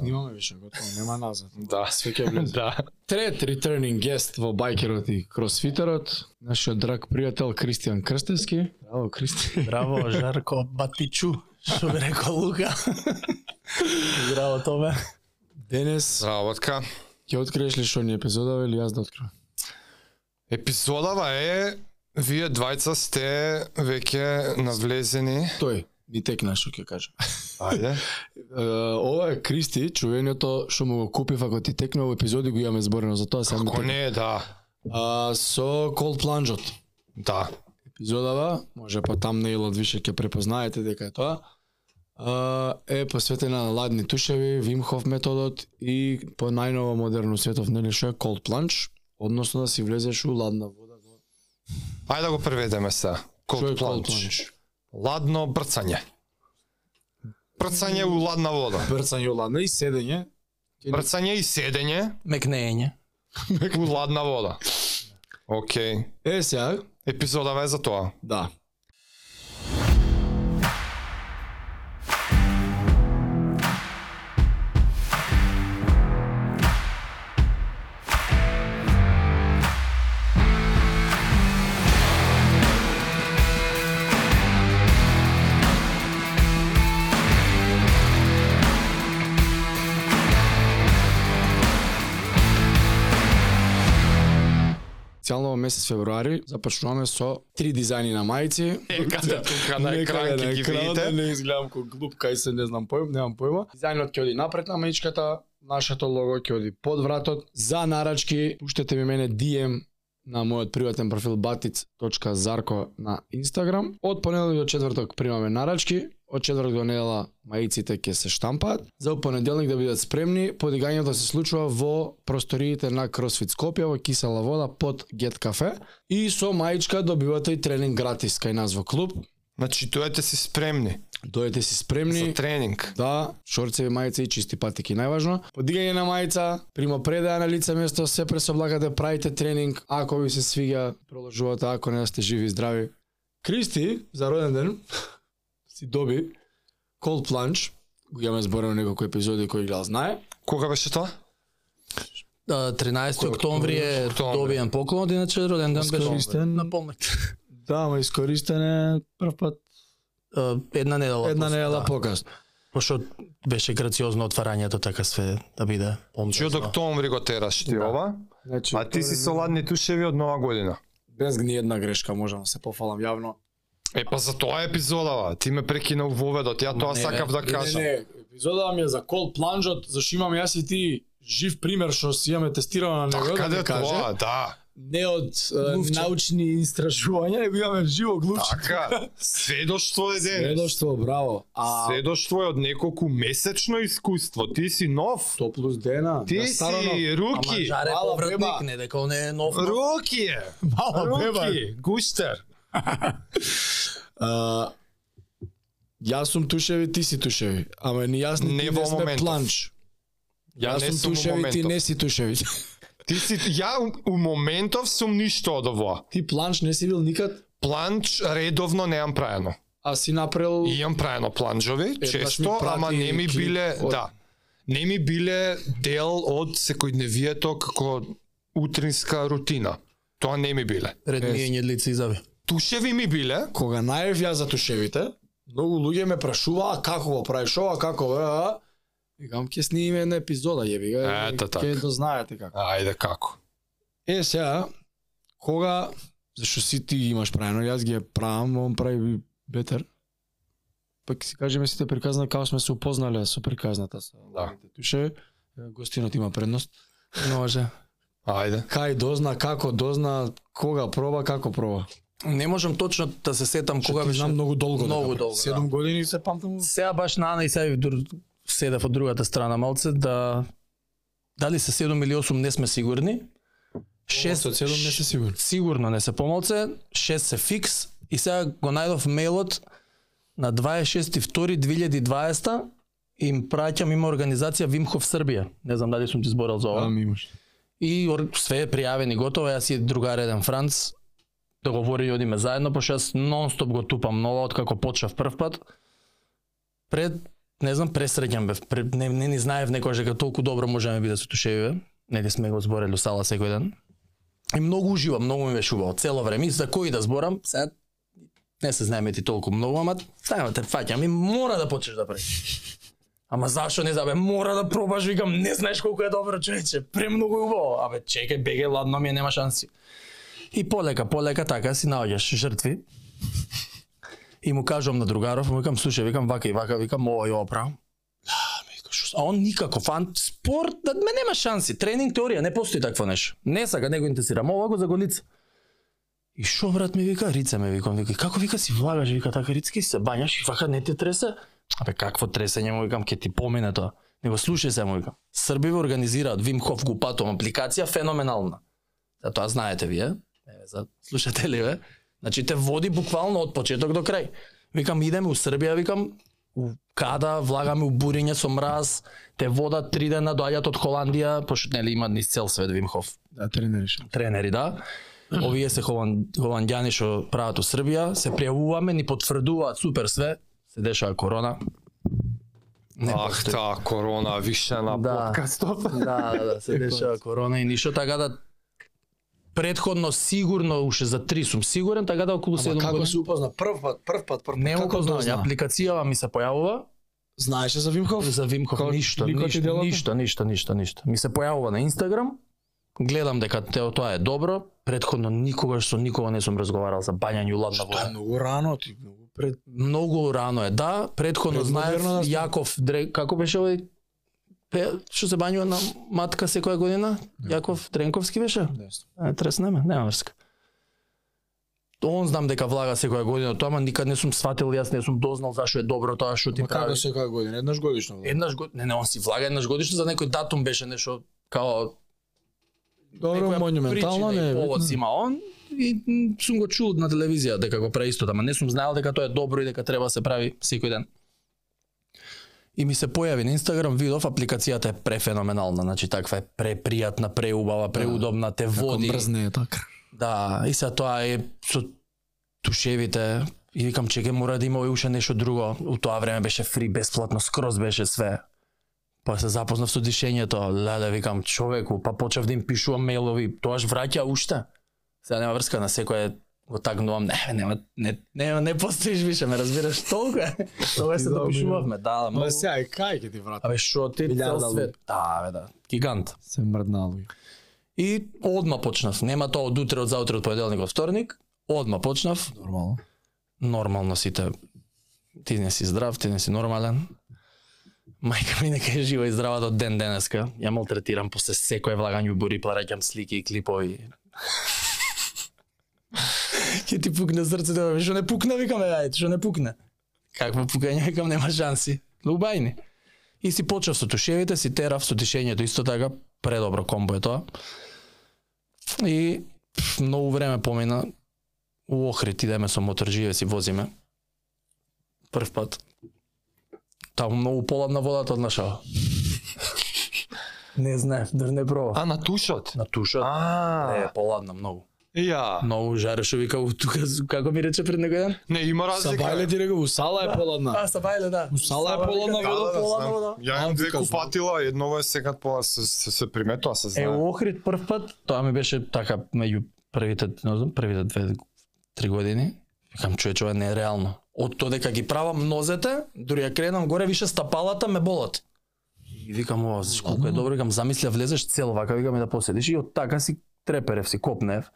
Снимаме више готово, нема назад. Да. Све ќе влезе. Да. Трет ретернинг гест во байкерот и кросфитерот, нашиот драг пријател Кристијан Крстевски. Браво, Кристи. Браво, Жарко Батичу, што би рекол Лука. Браво, Томе. Денес Сработка. ќе откриеш ли што ни епизодава или јас да откриам? Епизодава е Вие двајца сте веќе навлезени. Тој, ни текна што ќе кажам. Ајде. Е, Ова е Кристи, чувеното што му го купив ако ти текна во епизоди го имаме зборено, затоа сега ми Како текна. не, да. А, со Cold Plungeот. Да. Епизодава, може по тамнејлот више ќе препознаете дека е тоа. А, е посветена на ладни тушеви, Wim Hof методот и по најново модерно светов, нели што е Cold Plunge, односно да си влезеш у ладна вода. Ајде да го преведеме се. Што е Cold plunge. Ладно брцање. Брцање у ладна вода. Брцање у ладна и седење. Брцање и седење Мекнење. у ладна вода. Океј. Е сега, Епизодава е за тоа. да. Целно во месец февруари започнуваме со три дизајни на мајци. Е, каде тука на Некаде екран ќе ги екранот да видите. Не изгледам кој глуп, кај се не знам појм, немам појма. Дизајнот ќе оди напред на маичката, нашето лого ќе оди под вратот. За нарачки, пуштете ми мене DM на мојот приватен профил batic.zarko на Инстаграм. Од понеделник до четврток примаме нарачки, од четврток до недела маиците ќе се штампаат. За понеделник да бидат спремни, подигањето се случува во просториите на CrossFit Скопје во Кисела вода под Get Cafe и со маичка добивате и тренинг гратис кај нас во клуб. Значи, дојдете си спремни Дојдете си за спремни. тренинг. Да, шорцеви, мајца и чисти патеки најважно. Подигање на мајца, примопредаја на лице место, се пресоблагате, правите тренинг, ако ви се свига, продолжувате, ако не да сте живи и здрави. Кристи, за роден ден, си доби Cold Plunge, го имаме зборено неколку епизоди кои гледа знае. Кога беше тоа? А, 13 Да, октомври е Октомври. добиен поклонот, иначе роден ден беше Искористен. напомнет. Да, ма искористене прв пат А, Една недела. една после, недела да. покасно. Пошто беше грациозно отварањето така све да биде. Значи, од помпезно. октомври го тераш ти Да. ова. Значи, А Па ти си со ладни тушеви од нова година. без ни една грешка, можам да се пофалам јавно. Е, па за тоа е епизодава. Ти ме прекина у воведот. Ја тоа Не, сакав не, да Не, не, кажам. не, епизода ми е за Cold Plungeот, зашто имам јас и ти жив пример што си имаме тестирано на него, Така да де ти кажа. тоа, да. Не од е, Глувче. научни истражувања, него имаме живо глувче. Така, сведоштво Така е денес. Сведоштво, браво. А Сведоштво е од неколку месечно искуство. Ти си нов. то плюс дена. Ти на старано. си Ама руки. жаре Мала беба. повратник, не дека он е нов. Руки е. Мала беба. Руки. Гуштер. А, Јас сум тушеви, ти си тушеви. Ама ни јас ни Не ти во не сме моментов. планч. Ја Јас не сум сум у тушеви, ти моментов. не си тушеви. Ти си ја у- у моментов сум ништо од ова. Ти планч не си бил никад, Планч редовно неам праено. а си направил И Имам праено планџови, Еднаш често, ми прати ама не ми клип биле, од- да. Не ми биле дел од секојдневието како утринска рутина. Тоа не ми биле. Редниење лицизави. Тушеви ми биле, кога наев ја за тушевите, многу луѓе ме прашуваа како го правиш ова, како го е, Викам, ќе снимиме една епизода, јеби га, Ето така. ќе дознаете како. Ајде како. Е, сега, кога, зашто си ти ги имаш правено, јас ги ја правам, он прави бетер, пак си кажеме сите приказна како сме се упознале со приказната со Да. туше, гостинот има предност. Може. Ајде. Кај дозна, како дозна, кога проба, како проба. Не можам точно да се сетам Што кога ти беше. знам многу долго. Многу дека, долго, Седум години се памтам. Сега баш на Ана и сега ви дру- седев од другата страна малце да дали се 7 или 8 не сме сигурни. 6 Шест од седум не се сигурен. сигурно не се помалце, 6 се фикс и сега го најдов мејлот на 26.2.2020 им праќам има организација Вимхов Србија. Не знам дали сум ти зборал за ова. Да, ми имаш. И ор- све е пријавен и готово, јас и другар еден Франц, договори и одиме заедно, пошто јас нонстоп го тупам нова, откако почнав прв пат. Пред не знам, пресреќен бев. Пре- Не, не ни знаев некојаш дека толку добро можеме би да се тушевиме. Нели сме го зборели у сала секој ден. И многу уживам, многу ми беше убаво цело време. И за кој да зборам, сега не се знаеме ти толку многу, ама тајма те фаќам и мора да почнеш да правиш. Ама зашо не забе, мора да пробаш, викам, не знаеш колку е добро човече, премногу е убаво. Абе, чекај, бегај, ладно ми е, нема шанси. И полека, полека така си наоѓаш жртви. И му кажувам на другаров, му викам, слушај, викам, вака и вака, викам, ова и ова правам. Да, ми вика, шо с- А он никако, фан, спорт, да ме нема шанси, тренинг, теорија, не постои такво нешто. Не сака, не го интересирам, ова го за голица. И шо брат ми вика, Рица ме викам, вика, како вика си влагаш, вика, така Рицки се бањаш и вака не те тресе. Абе, какво тресење му викам, ке ти помине тоа. Него слушај се му викам. Срби го организираат Вим Хоф Гупатум апликација феноменална. За тоа знаете вие. Еве за слушатели ве. Значи те води буквално од почеток до крај. Викам идеме у Србија, викам у када влагаме у буриње со мраз, те водат три дена доаѓаат од Холандија, пошто нели има низ цел свет Вим Хоф Да, тренериш. тренери, да. Овие се холан, холандјани што прават у Србија, се пријавуваме, ни потврдуваат супер све, се дешава корона. Не Ах, та корона, више на да. Да, да, да, се дешава корона и ништо, така да предходно сигурно уште за три сум сигурен, така да околу 7 Како години. се упозна? Прв пат, прв пат, прв пат. Не Како да тоа укознавање, зна? апликацијава ми се појавува Знаеше за Вимхов? за Вимко Како- ништо, Вимко ти ништо, делата? ништо, ништо, ништо, ништо. Ми се појавува на Инстаграм, гледам дека те- тоа е добро, предходно никогаш со никого не сум разговарал за бањање у ладна Тоа вода. е многу рано ти, многу пред. Многу рано е, да. Предходно Пред знаев модерно да сме. Јаков Дре... Како беше овој пе... што се бањува на матка секоја година? Јаков Дренковски беше? Не знам. Е, треснеме, нема врска. Он знам дека влага секоја година тоа, ама никад не сум сватил, јас не сум дознал зашо е добро тоа што ти Ма како прави. секоја година, еднаш годишно. бе. Еднаш год... не, не, он си влага еднаш годишно за некој датум беше нешто као Добро, некоја монументално причина не и е. повод си има он и м, сум го чул на телевизија дека го прави истото, ама не сум знаел дека тоа е добро и дека треба да се прави секој ден. И ми се појави на Инстаграм видов апликацијата е префеноменална, значи таква е препријатна, преубава, преудобна, те води. Мрзне е така. Да, и се тоа е со тушевите и викам чеке мора да има овој уште нешто друго. У тоа време беше фри, бесплатно, скроз беше све. Па се запознав со дишењето, леле викам човеку, па почев да им пишувам мејлови, тоаш враќа уште. Сега нема врска на секое го тагнувам, не, нема, не, не, не постоиш више, ме разбираш толку е. Тоа се да, допишувавме, да, Ма ма. сега е кај ќе ти врати? Абе шо ти цел Милиарда свет. Да, бе, да, гигант. Се мрднало. И одма почнав, нема тоа од утре, од заутре, од понеделник, од вторник, одма почнав, Нормално. нормално сите ти не си здрав, ти не си нормален. Мајка ми нека е жива и здрава до ден денеска. Ја малтретирам после секое влагање у бури, плараќам слики и клипови. Ќе ти пукне срцето, бе, што не пукна, викам, бе, ајде, што не пукна. Какво пукање, викам, нема шанси. Лубајни. И си почнав со тушевите, си терав со дишењето, исто така, предобро комбо е тоа. И пф, многу време помина, у Охрид идеме со моторџије си возиме. Прв пат. Таму многу поладна водата од нашава. не знаев, дор не пробав. А, на тушот? На туша е А, поладна многу. ја. Многу жареше вика у тука како ми рече пред некој ден. Не, има разлика. Сабајле ти реков, усала е поладна. са бајле да. Усала е поладна Да, вода, да, поладна знам. вода. Ја имам А, две вика, знам. купатила, едново е секад пола се, се, се приметува, се Е знае. у Охрид прв пат, тоа ми беше така меѓу првите, не знам, првите две три години. Викам човече ова не е реално. Од тоа дека ги правам нозете, дури ја кренам горе више стапалата ме болат. И викам ова, знаеш колку е добро, викам замисля влезеш цел вака, викам и да поседиш и од така си треперев си копнев.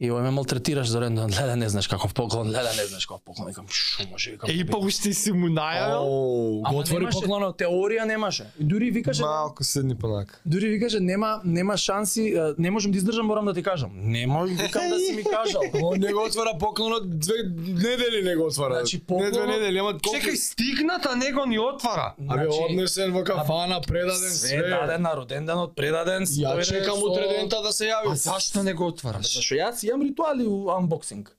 И овој ме малтретираш за рендон, леле не знаеш каков поклон, леле не знаеш каков поклон, викам шо може, викам. Е, и па уште си му најавил. Оу, Ама го отвори немаше, поклон. теорија немаше. И дури викаше Малку седни понака. Дури ви каже нема нема шанси, е, не можам да издржам, морам да ти кажам. Не можам, викам да си ми кажал. Он не го отвара поклонот две недели не го отвара. Значи, Не две поклонот- недели, ама колку- Чекај, стигната него ни отвара. Абе Значи, однесен во кафана, предаден Све све. даден на роден ден, од предаден. Ја дојде чекам со- утре дента да се А јави. зашто не го отвараш? Зашо јас имам ритуали у анбоксинг.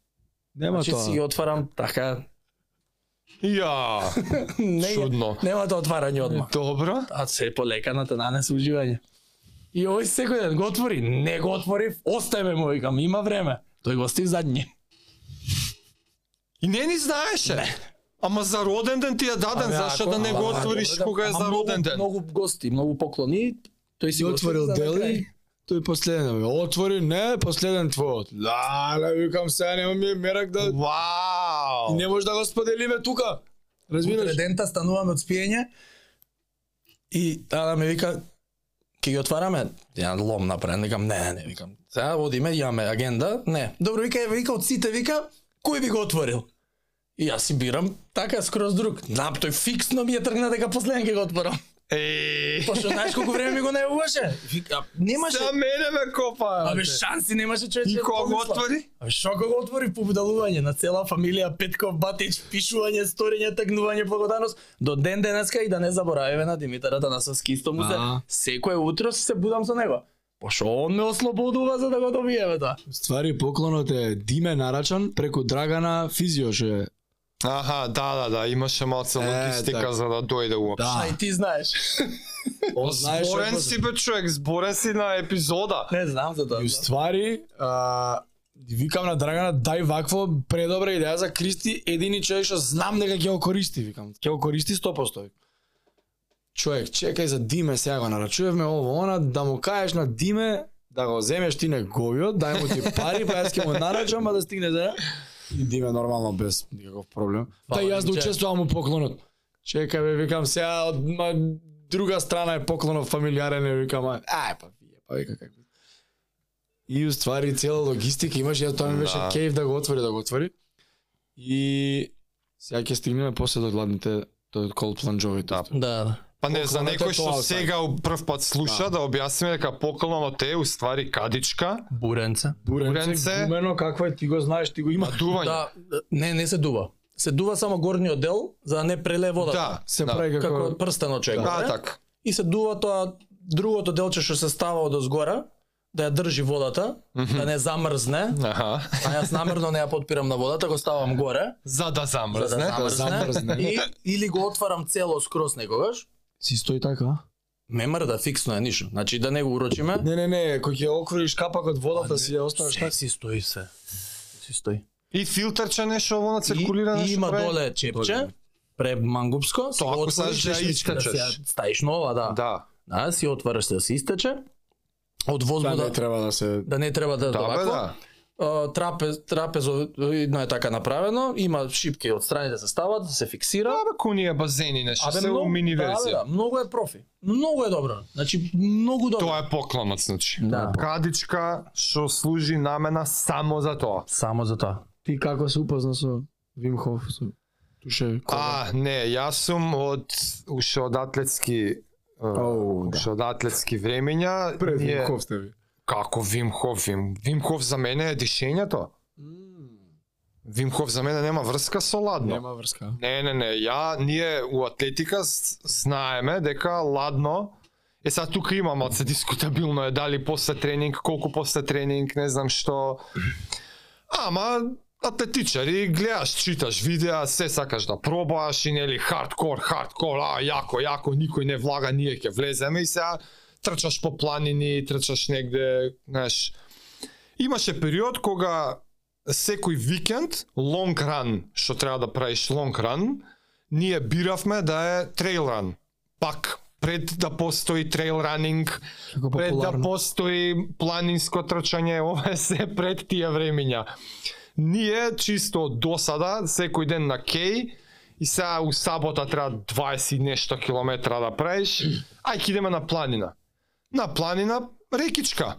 Нема Значи си ги отварам така. Ја, Не, чудно. нема да отварање одма. Добро. А се полека на нанес уживање. И овој секој ден го отвори, не го отвори, остајме му викам, има време. Тој го остави задни. И не ни знаеше. Ама за роден ден ти ја даден, Абе, зашто ако- да не го ама, отвориш кога е за роден ден? Многу гости, многу поклони. Тој си Ти отворил дели. дели, тој последен. бе. Отвори, не, последен твојот. Лале, викам сега, нема ми е мерак да... Вау! Не може да го споделиме тука. Утре Разбираш? дента стануваме од спиење и таа ме вика ќе ги отвараме. Ја лом направен, викам не, не, не, викам. Сега водиме, имаме агенда, не. Добро, вика, е, вика од сите, вика, кој би го отворил? И јас си бирам така скроз друг. Нап, тој фиксно ми е тргна дека последен ќе го отворам. Е, Пошто знаеш колку време ми го најуваше. Вика, немаше. за мене ме копа. Абе шанси немаше човече. И да кога го помисла. отвори? Абе што го отвори побудалување на цела фамилија Петков Батич, пишување, сториње, тагнување, благодарност до ден денеска и да не заборавиме на Димитар Атанасовски исто му се Да. Аа. секое утро се будам со него. Пошо он ме ослободува за да го добиеме тоа. Ствари поклонот е Диме Нарачан преку Драгана Физиош е. Аха, да, да, да, имаше малце логистика така. за да дојде уопште. А и ти знаеш. Он знаеше Зборен што си бе човек, зборен си на епизода. не знам за тоа. И уствари, а, викам на Драгана, дај вакво предобра идеја за Кристи, едини човек што знам дека ќе го користи, викам. Ќе го користи 100%. Човек, чекај за Диме, сега го нарачувавме ово, она, да му кажеш на Диме, да го земеш ти неговиот, дај му ти пари, па јас ќе му нарачам, а да стигне за И Диме нормално без никаков проблем. Та и Фала, јас да Димче. учествувам у поклонот. Чекај бе, викам сега од ма, друга страна е поклонот фамилиарен, е, викам, а, ај па вие, па вика како. И уствари цела логистика имаше, ја тоа ми беше Да. кејф да го отвори, да го отвори. И сега ќе стигнеме после да до гладните до кол планџовите. Да. Да, да. Па не, за Поклонот е некој што тоа, сад. сега прв пат слуша, да објасниме дека поклонот е уствари кадичка, Буренце. Буренце. Буренце, гумено, какво е, ти го знаеш, ти го има. дување. Да, не, не се дува. Се дува само горниот дел за да не преле водата. Да, Се да. прави како... Како прстенот човек. Да, добре? така. и се дува тоа другото делче што се става од озгора, да ја држи водата, да не замрзне, Аха. а јас намерно не ја потпирам на водата, го ставам горе, За да за да замрзне. замрзне, замрзне. и, или го отварам цело скрос некогаш, Си стои така, а? ме мрда фиксно е ништо. Значи да не го урочиме, Не, не, не, кој ќе окруиш капак од водата А, си ја оставаш се така. си стои се. Си стои. И филтерче нешто во на циркулира и, и нешто има прави. доле чепче, пре мангупско, си Тоа го ако отвориш, сакаш да ја лишничка да си ја искачаш. ставиш нова, да. Да. Да, си ја отвараш се да се истече. Од Тоа возбуда не треба да се да не треба да е Да, бе, довако. да. а, трапез, трапезоидно е така направено, има шипки од страните се стават, да се фиксира. Абе, ко ние базени нешто, се у мини да, бе, верзија. да, многу е профи. Многу е добро. Значи многу добро. Тоа е поклонот, значи. Да. Кадичка што служи намена само за тоа. Само за тоа. Ти како се упозна со Вим Хоф? Со... Туше, А, не, јас сум од уште од атлетски Оу, да. уште од атлетски времења. пред ние- Вим Хоф сте ви. Како Вим Хоф? Вим, Вим Хоф за мене е дишењето. Вим Хоф за мене нема врска со ладно. Нема врска. Не, не, не, ја, ние у атлетика с- знаеме дека ладно Е сега тука има малце дискутабилно е дали после тренинг, колку после тренинг, не знам што. Ама атлетичари гледаш, читаш видеа, се сакаш да пробаш и нели хардкор, хардкор, а јако, јако, никој не влага, ние ќе влеземе и сега трчаш по планини, трчаш негде, знаеш. Имаше период кога секој викенд лонг ран, што треба да правиш лонг ран, ние биравме да е трейл ран. Пак пред да постои трейл ранинг, Како пред да популарно. постои планинско трчање, ова е се пред тие времиња. Ние чисто од досада секој ден на кеј и сега у сабота треба 20 и нешто километра да правиш, ај ќе идеме на планина. На планина рекичка.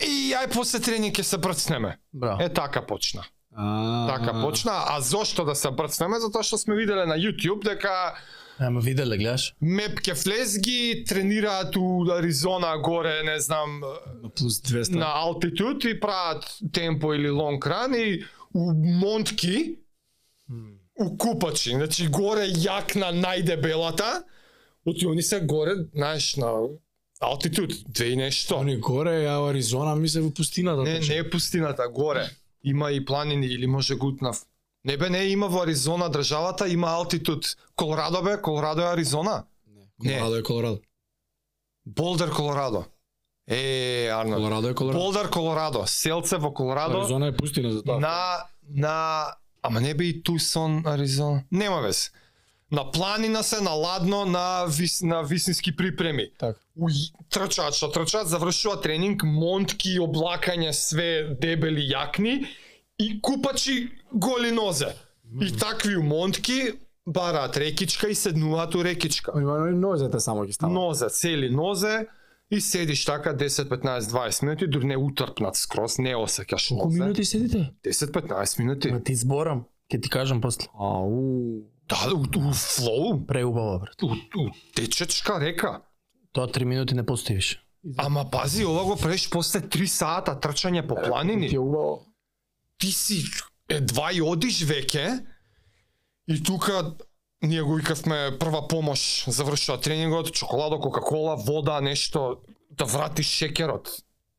И ај после тренинг ќе се брцнеме. Браво. Е така почна. А, Така почна, а зошто да се брцнеме? Затоа што сме виделе на YouTube дека Ама виделе, гледаш? Меп Кефлезги тренираат у Аризона горе, не знам, Плюс 200. на алтитуд и прават темпо или лонг ран и у Монтки у купачи, значи горе јакна најдебелата, оти они се горе, знаеш, на алтитуд, две и нешто. Они горе, ја у Аризона ми се во да пустината. Не, не е пустината, горе. Има и планини или може Гутнав. Не бе, не, има во Аризона државата, има алтитуд. Колорадо бе, Колорадо е Аризона. Колорадо е Колорадо. Болдер, Колорадо. Е, Арно. Колорадо е Колорадо. Болдер, Колорадо. Селце во Колорадо Аризона е пустина за тоа. на на Ама не бе и Тусон, Аризона. Нема вез. На планина се, на ладно, на, вис, на висински припреми. Така. Уј, трчаат, што трчаат, завршува тренинг, монтки, облакања, све дебели јакни и купачи голи нозе. И такви монтки бараат рекичка и седнуваат у рекичка. Има нозете само ги стават. Нозе, цели нозе и седиш така 10, 15, 20 минути, дур не утрпнат скрос, не осеќаш Колку нозе. минути седите? 10-15 минути. Ма ти зборам, ќе ти кажам после. Ау. Да, у, у флоу, Преубава, брат. у, у течечка река. Тоа три минути не постоиш. Ама пази, ова го правиш после 3 сата трчање по планини. Ти е убаво. ти си едва и одиш веќе и тука ние го викавме прва помош, завршува тренингот, чоколадо, кока-кола, вода, нешто да вратиш шекерот.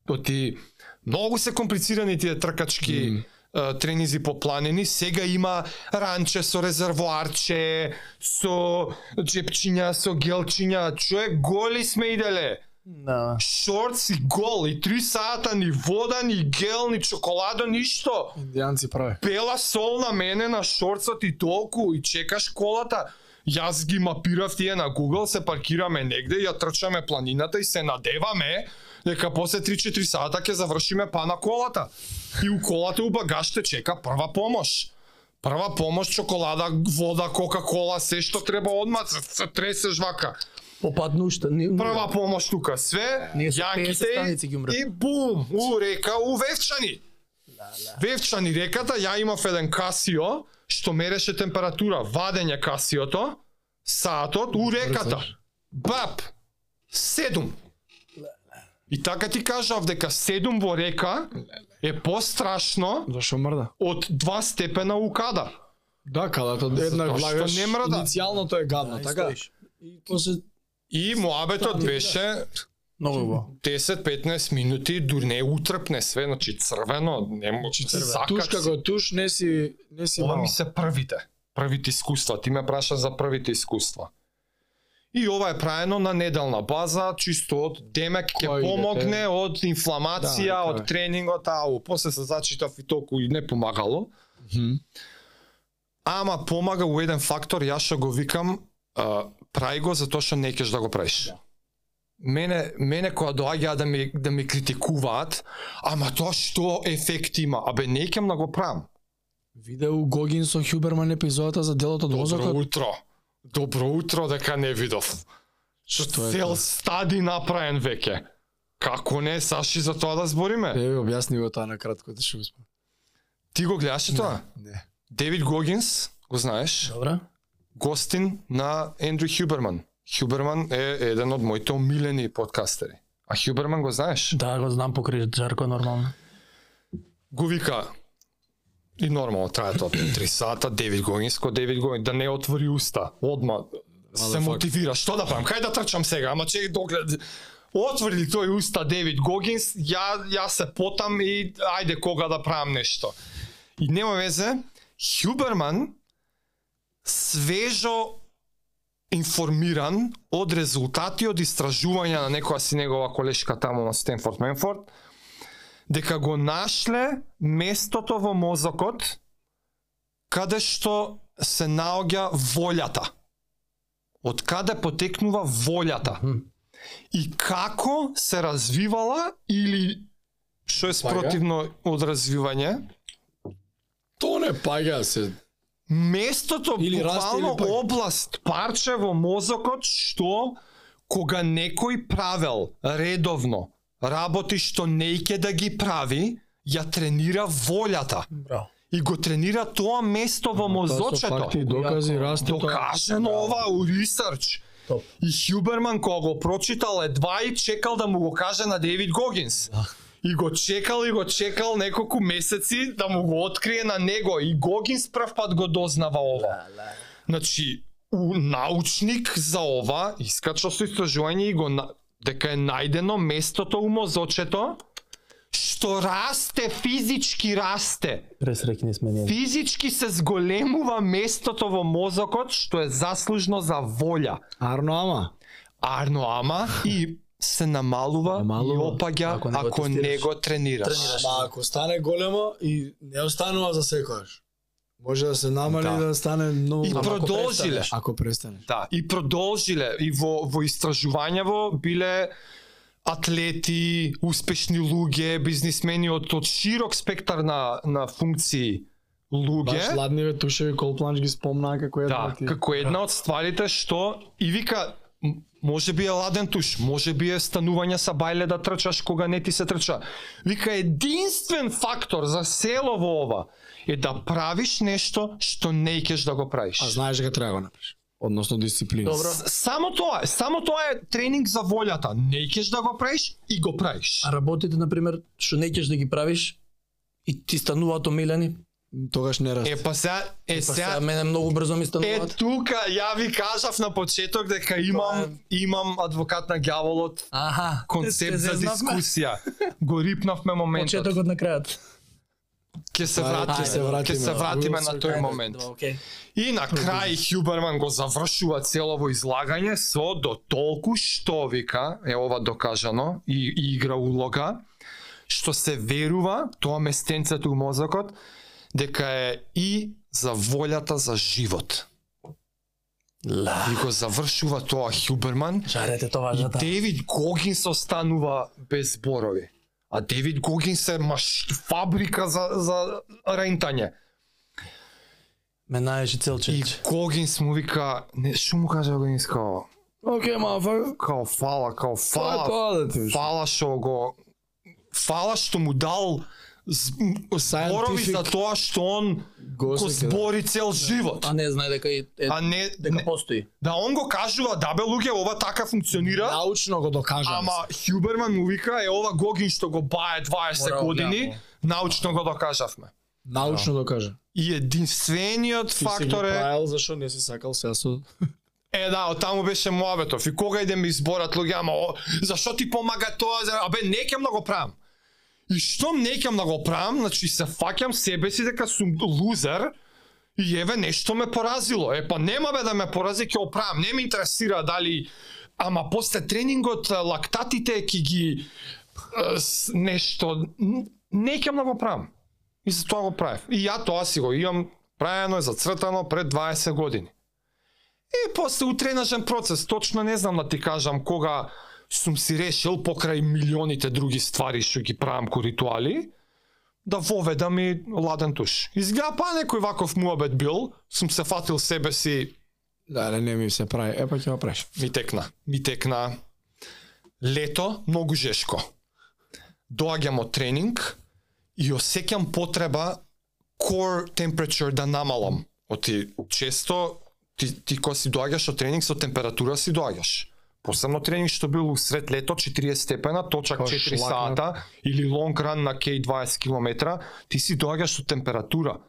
То ти многу се комплицирани тие тркачки mm. тренинзи по планини, сега има ранче со резервоарче, со джепчиња, со гелчиња, човек голи сме иделе Да. шорц и гол и три сата ни вода, ни гел, ни чоколадо, ништо. Индијанци праве. Пела сол на мене на шорцот и толку и чекаш колата. Јас ги мапирав тие на Google, се паркираме негде, ја трчаме планината и се надеваме дека после 3-4 сата ќе завршиме па на колата. И у колата у багаж те чека прва помош. Прва помош, чоколада, вода, кока-кола, се што треба одма, се, се тресеш вака Попадну уште. ни- прва помош тука све, Ние со 50 јаките станици ги умрев. и бум, у река, у Вевчани. Вевчани реката, ја имав еден касио, што мереше температура, вадење касиото, саатот, у реката. Бап, седум. И така ти кажав дека седум во река е пострашно Зашо мрда? од 2 степена укада. Да, када тоа Затоа еднак што влагаш. не мрда. Иницијално тоа е гадно, Да, и така? стоиш. И после И моабетот беше многу убаво. 10-15 минути, дур не утрпне све, значи црвено, не може Значи Тушка го туш, не си не си Ова мал. ми се првите, првите искуства, ти ме праша за првите искуства. И ова е праено на неделна база, чисто од Демек ќе Кој дете? помогне од инфламација, Да, така од е. тренингот, ау, после се зачитав и толку и не помагало. Мгм. Ама помага у еден фактор, јас што го викам, а, прај го затоа што не кеш да го правиш. Мене, мене која доаѓа да ми, да ми критикуваат, ама тоа што ефект има, абе не кем да го правам. Видео Гогин со Хюберман епизодата за делото од Добро мозокот. утро. Добро утро дека не видов. Што е Цел тоа? стади направен веќе. Како не, Саши, за тоа да збориме? Еве објасни го тоа на кратко, да што го спомнам. Ти го Да. гледаше тоа? Не. Девид Гогинс, го знаеш, Добра. гостин на Ендрю Хюберман. Хюберман е еден од моите омилени подкастери. А Хюберман го знаеш? Да, го знам покрај Жарко нормално. Го вика и нормално трае тоа 3 сата, Девид Гогинс, ко Девид Гогинс, да не отвори уста, одма се Motherfucker. мотивира. Што да правам? Кај да трчам сега? Ама чек доглед. Отврли тој уста Девид Гогинс, ја ја се потам и ајде кога да правам нешто. И нема везе, Хюберман свежо информиран од резултати од истражувања на некоја си негова колешка таму на Стенфорд Менфорд, дека го нашле местото во мозокот каде што се наоѓа волјата. Од каде потекнува волјата. И како се развивала или што е спротивно од развивање, То не паѓа се. местото Или раст, буквално или пак- област, парче во мозокот што кога некој правел редовно работи што неќе да ги прави, ја тренира волјата Браво. и го тренира тоа место Тоа во со мозочето. факти и докази да. Јако. расте тоа. Докажено ова у ресерч. Топ. И Хюберман кога го прочитал едва и чекал да му го каже на Девид Гогинс. Да. И го чекал и го чекал неколку месеци да му го открие на него и Гогинс прв пат го дознава Да. ова. Значи, у научник за ова искачал со истражување и го на... дека е најдено местото у мозочето што расте физички расте Пресреќни сме ние. физички се зголемува местото во мозокот што е заслужно за волја. Арно ама. Арно ама и се намалува, Намалува, и опаѓа ако ако не не го го, тестираш. тренираш. Тренираш. Ама ако стане големо и не останува за секојаш. Може да се намали Да. да, стане многу... И Ама ако продолжиле. престанеш- Ако престанеш. Да, и продолжиле и во во истражувањаво биле атлети, успешни луѓе, бизнисмени од од широк спектар на на функции луѓе. Баш ладниве тушеви Колпланч ги спомнаа како една Да, од тие. како една од стварите што и вика м- може би е ладен туш, може би е станување са бајле да трчаш кога не ти се трча. Вика единствен фактор за село во ова е да правиш нешто што не икеш да го правиш. А знаеш дека треба да го направиш. Односно дисциплина. Добро. С- Само тоа, е, само тоа е тренинг за волјата. Не икеш да го правиш и го правиш. А работите, например, што неќеш да ги правиш и ти стануваат омилени. Тогаш не расте. Е па сега, е Па сега сега, мене многу брзо ми Е стануваат. тука ја ви кажав на почеток дека Па, имам имам адвокат на ѓаволот Аха, концепт за дискусија. Го рипнавме моментот. Почетокот на крајот. Ќе се Ајде, вратиме, ќе се ќе вратиме. се вратиме We'll на circle тој back. момент. Да, окей. И на крај Хјуберман го завршува целово излагање со до толку што вика, е ова докажано и, и игра улога, што се верува, тоа местенцето у мозокот, дека е и за волјата за живот. Ла, И го завршува тоа Хјуберман. Жарете тоа И жата. Девид Гогинс останува без зборови. А Девид Гогинс е маш... фабрика за, за рентање. Ме најеше И целчеч. Гогинс му вика, не, што му кажа Гогинс као, Океј, мафа. као фала, као Тоа е па- фала, тоа да ти. фала што го, фала што му дал з- зборови за Scientific тоа што он Го го сеќа, да. збори цел живот. А не знае дека и е, А не, дека не, постои. да он го кажува, да бе луѓе, ова така Да, функционира, Научно го докажа. Ама Хјуберман му вика е ова Гогин што го бае 20 Морал, години, научно го докажавме. Научно докажа. И единствениот Ти си го фактор е правил зашо не си сакал сега со е да, од таму беше муабетов. И кога идем изборат луѓе, ама о, зашо ти помага тоа? За- Абе не ќе многу правам. И што не ќе многу правам, значи се фаќам себе си дека сум лузер. И еве нешто ме поразило. Е па нема бе да ме порази, ќе оправам. Не ме интересира дали ама после тренингот а, лактатите ќе ги а, с, нешто н- не ќе многу правам. И за тоа го правев. И ја тоа си го имам правено и зацртано пред 20 години. И после у тренажен процес, точно не знам да ти кажам кога сум си решил покрај милионите други ствари што ги правам ко ритуали, да воведам и ладен туш. Изгледа па некој ваков муабет бил, сум се фатил себе си, Да, не, не ми се прави. Епа ќе го правиш. ми текна, ми текна. Лето, многу жешко. Доаѓам од тренинг и осеќам потреба core temperature да намалам. Оти често ти, ти кога си доаѓаш од тренинг со температура си доаѓаш. Посебно тренинг што бил усред лето 40 степена, точак Тоа 4 шлакна. сата или лонг ран на кеј 20 км, ти си доаѓаш со температура.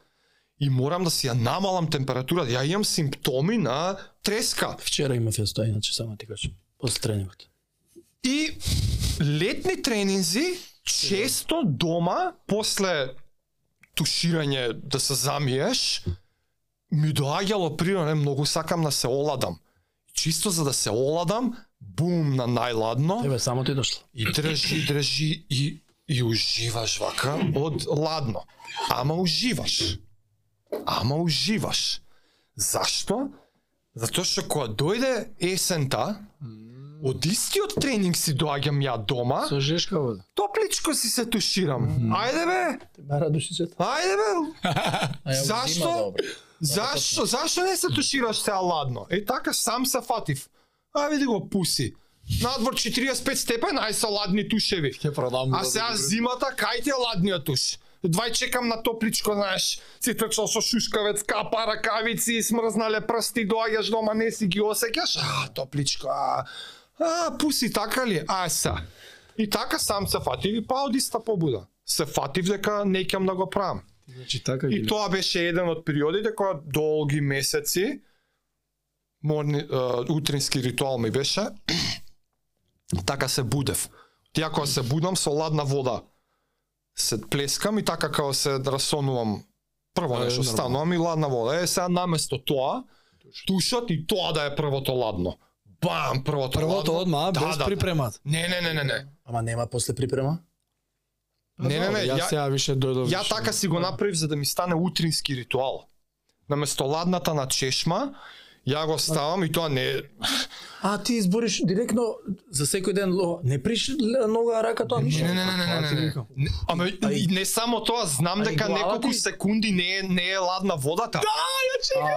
И морам да си ја намалам температура. Ја имам симптоми на треска. Вчера имав ја стоја, иначе само ти кажам. После тренингот. И летни тренинзи често дома после туширање да се замиеш ми доаѓало природно многу сакам да се оладам. Чисто за да се оладам, бум на најладно Еве само ти дошло. и држи, држи и и уживаш вака од ладно. Ама уживаш. Ама уживаш. Зашто? Затоа што кога дојде есента, од истиот тренинг си доаѓам ја дома, Со жешка вода. топличко си се туширам. Ајде бе, Те бара душицата. ајде бе, А ја Зашто? зима добро. зашо, зашо не се тушираш сега ладно? Е така сам се фатив. А види го пуси. Надвор 45 степен, ај со ладни тушеви. Ќе продам. А сега зимата, кај ти е ладниот туш? Двај чекам на топличко, знаеш, си трчал со шушкавец, капа, ракавици, смрзнале прсти, доаѓаш дома, не си ги осеќаш, а, топличко, а, а, пуси, така ли? А, са. И така сам се фатив и па од иста побуда. Се фатив дека не кем да го правам. Значи така И тоа беше еден од периодите кога долги месеци морни, а, утрински ритуал ми беше. така се будев. Ја кога се будам со ладна вода се плескам и така како се расонувам прво Да, е нешто нормално. станувам и ладна вода. Е сега наместо тоа тушот и тоа да е првото ладно. Бам, првото, Првото ладно. одма, Да, без да, да. припремат. Не, не, не, не, не. Ама нема после припрема. Не, не, не, Ја ја- сега више дојдов. така Ја така си го направив за да ми стане утрински ритуал. наместо ладната на чешма, ја го ставам и тоа не е... А ти избориш директно за секој ден ло, не приш л- нога рака тоа Не, ништо. не, не, не, не, не, не. Не, Ама и не само тоа, знам а и Да! дека глава неколку ти? секунди не е, не е ладна водата.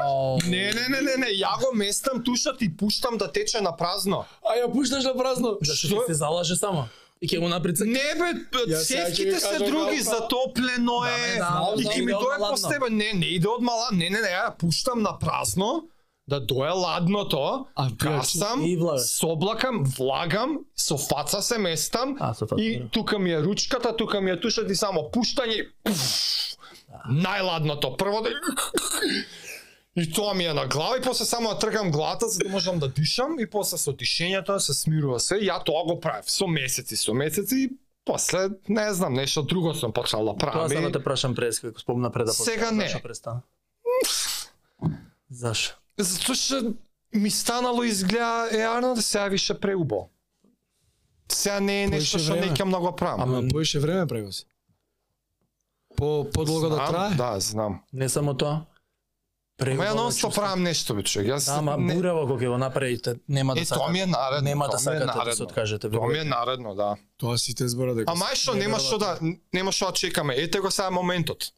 Ау. Не, не, не, не, не, ја го местам тушат и пуштам да тече на празно. А ја пушташ на празно. Зашто ќе Да се залаже само? И ќе го наприцак. Не бе, Ја сега ќе ви севките се кажам малку. други, затоплено е. Да, бе, знам, И знам, ќе ми иде од дое ладно. после тебе, не, не иде од мала, не, не, не, ја пуштам на празно, да дое ладното, А, ти ја гасам, и влага. соблакам, влагам, со фаца се местам А, со фаца, и да. тука ми е ручката, тука ми е тушат и само пуштање, пф, најладното, прво да... И тоа ми е на глава и после само ја тргам главата за да можам да дишам и после со дишењето се смирува се. Ја тоа го правев со месеци, со месеци и после не знам, нешто друго сум почнал да Тоа само правам. те прашам пред како спомна пред да Сега почнеш, не. Зашо престана? Зашо? Затоа што ми станало изгледа е Арнолд сега више преубо. Сега не е Поише нешто што време. неќам да го правам. Ама поише време превоз. По подолго да Знам, трае. Да, знам. Не само тоа. Прего Ама ја го нонсто чувствам. правам нешто бе човек. Јас Да, ама не- бурево кога ќе го направите, нема да Е, тоа ми е наредно. Нема да тоа ми е сакате да се наредно. откажете. Тоа ми е наредно, да. Тоа си те збора дека. Ама ај што нема што да нема што да чекаме. Ете го сега моментот.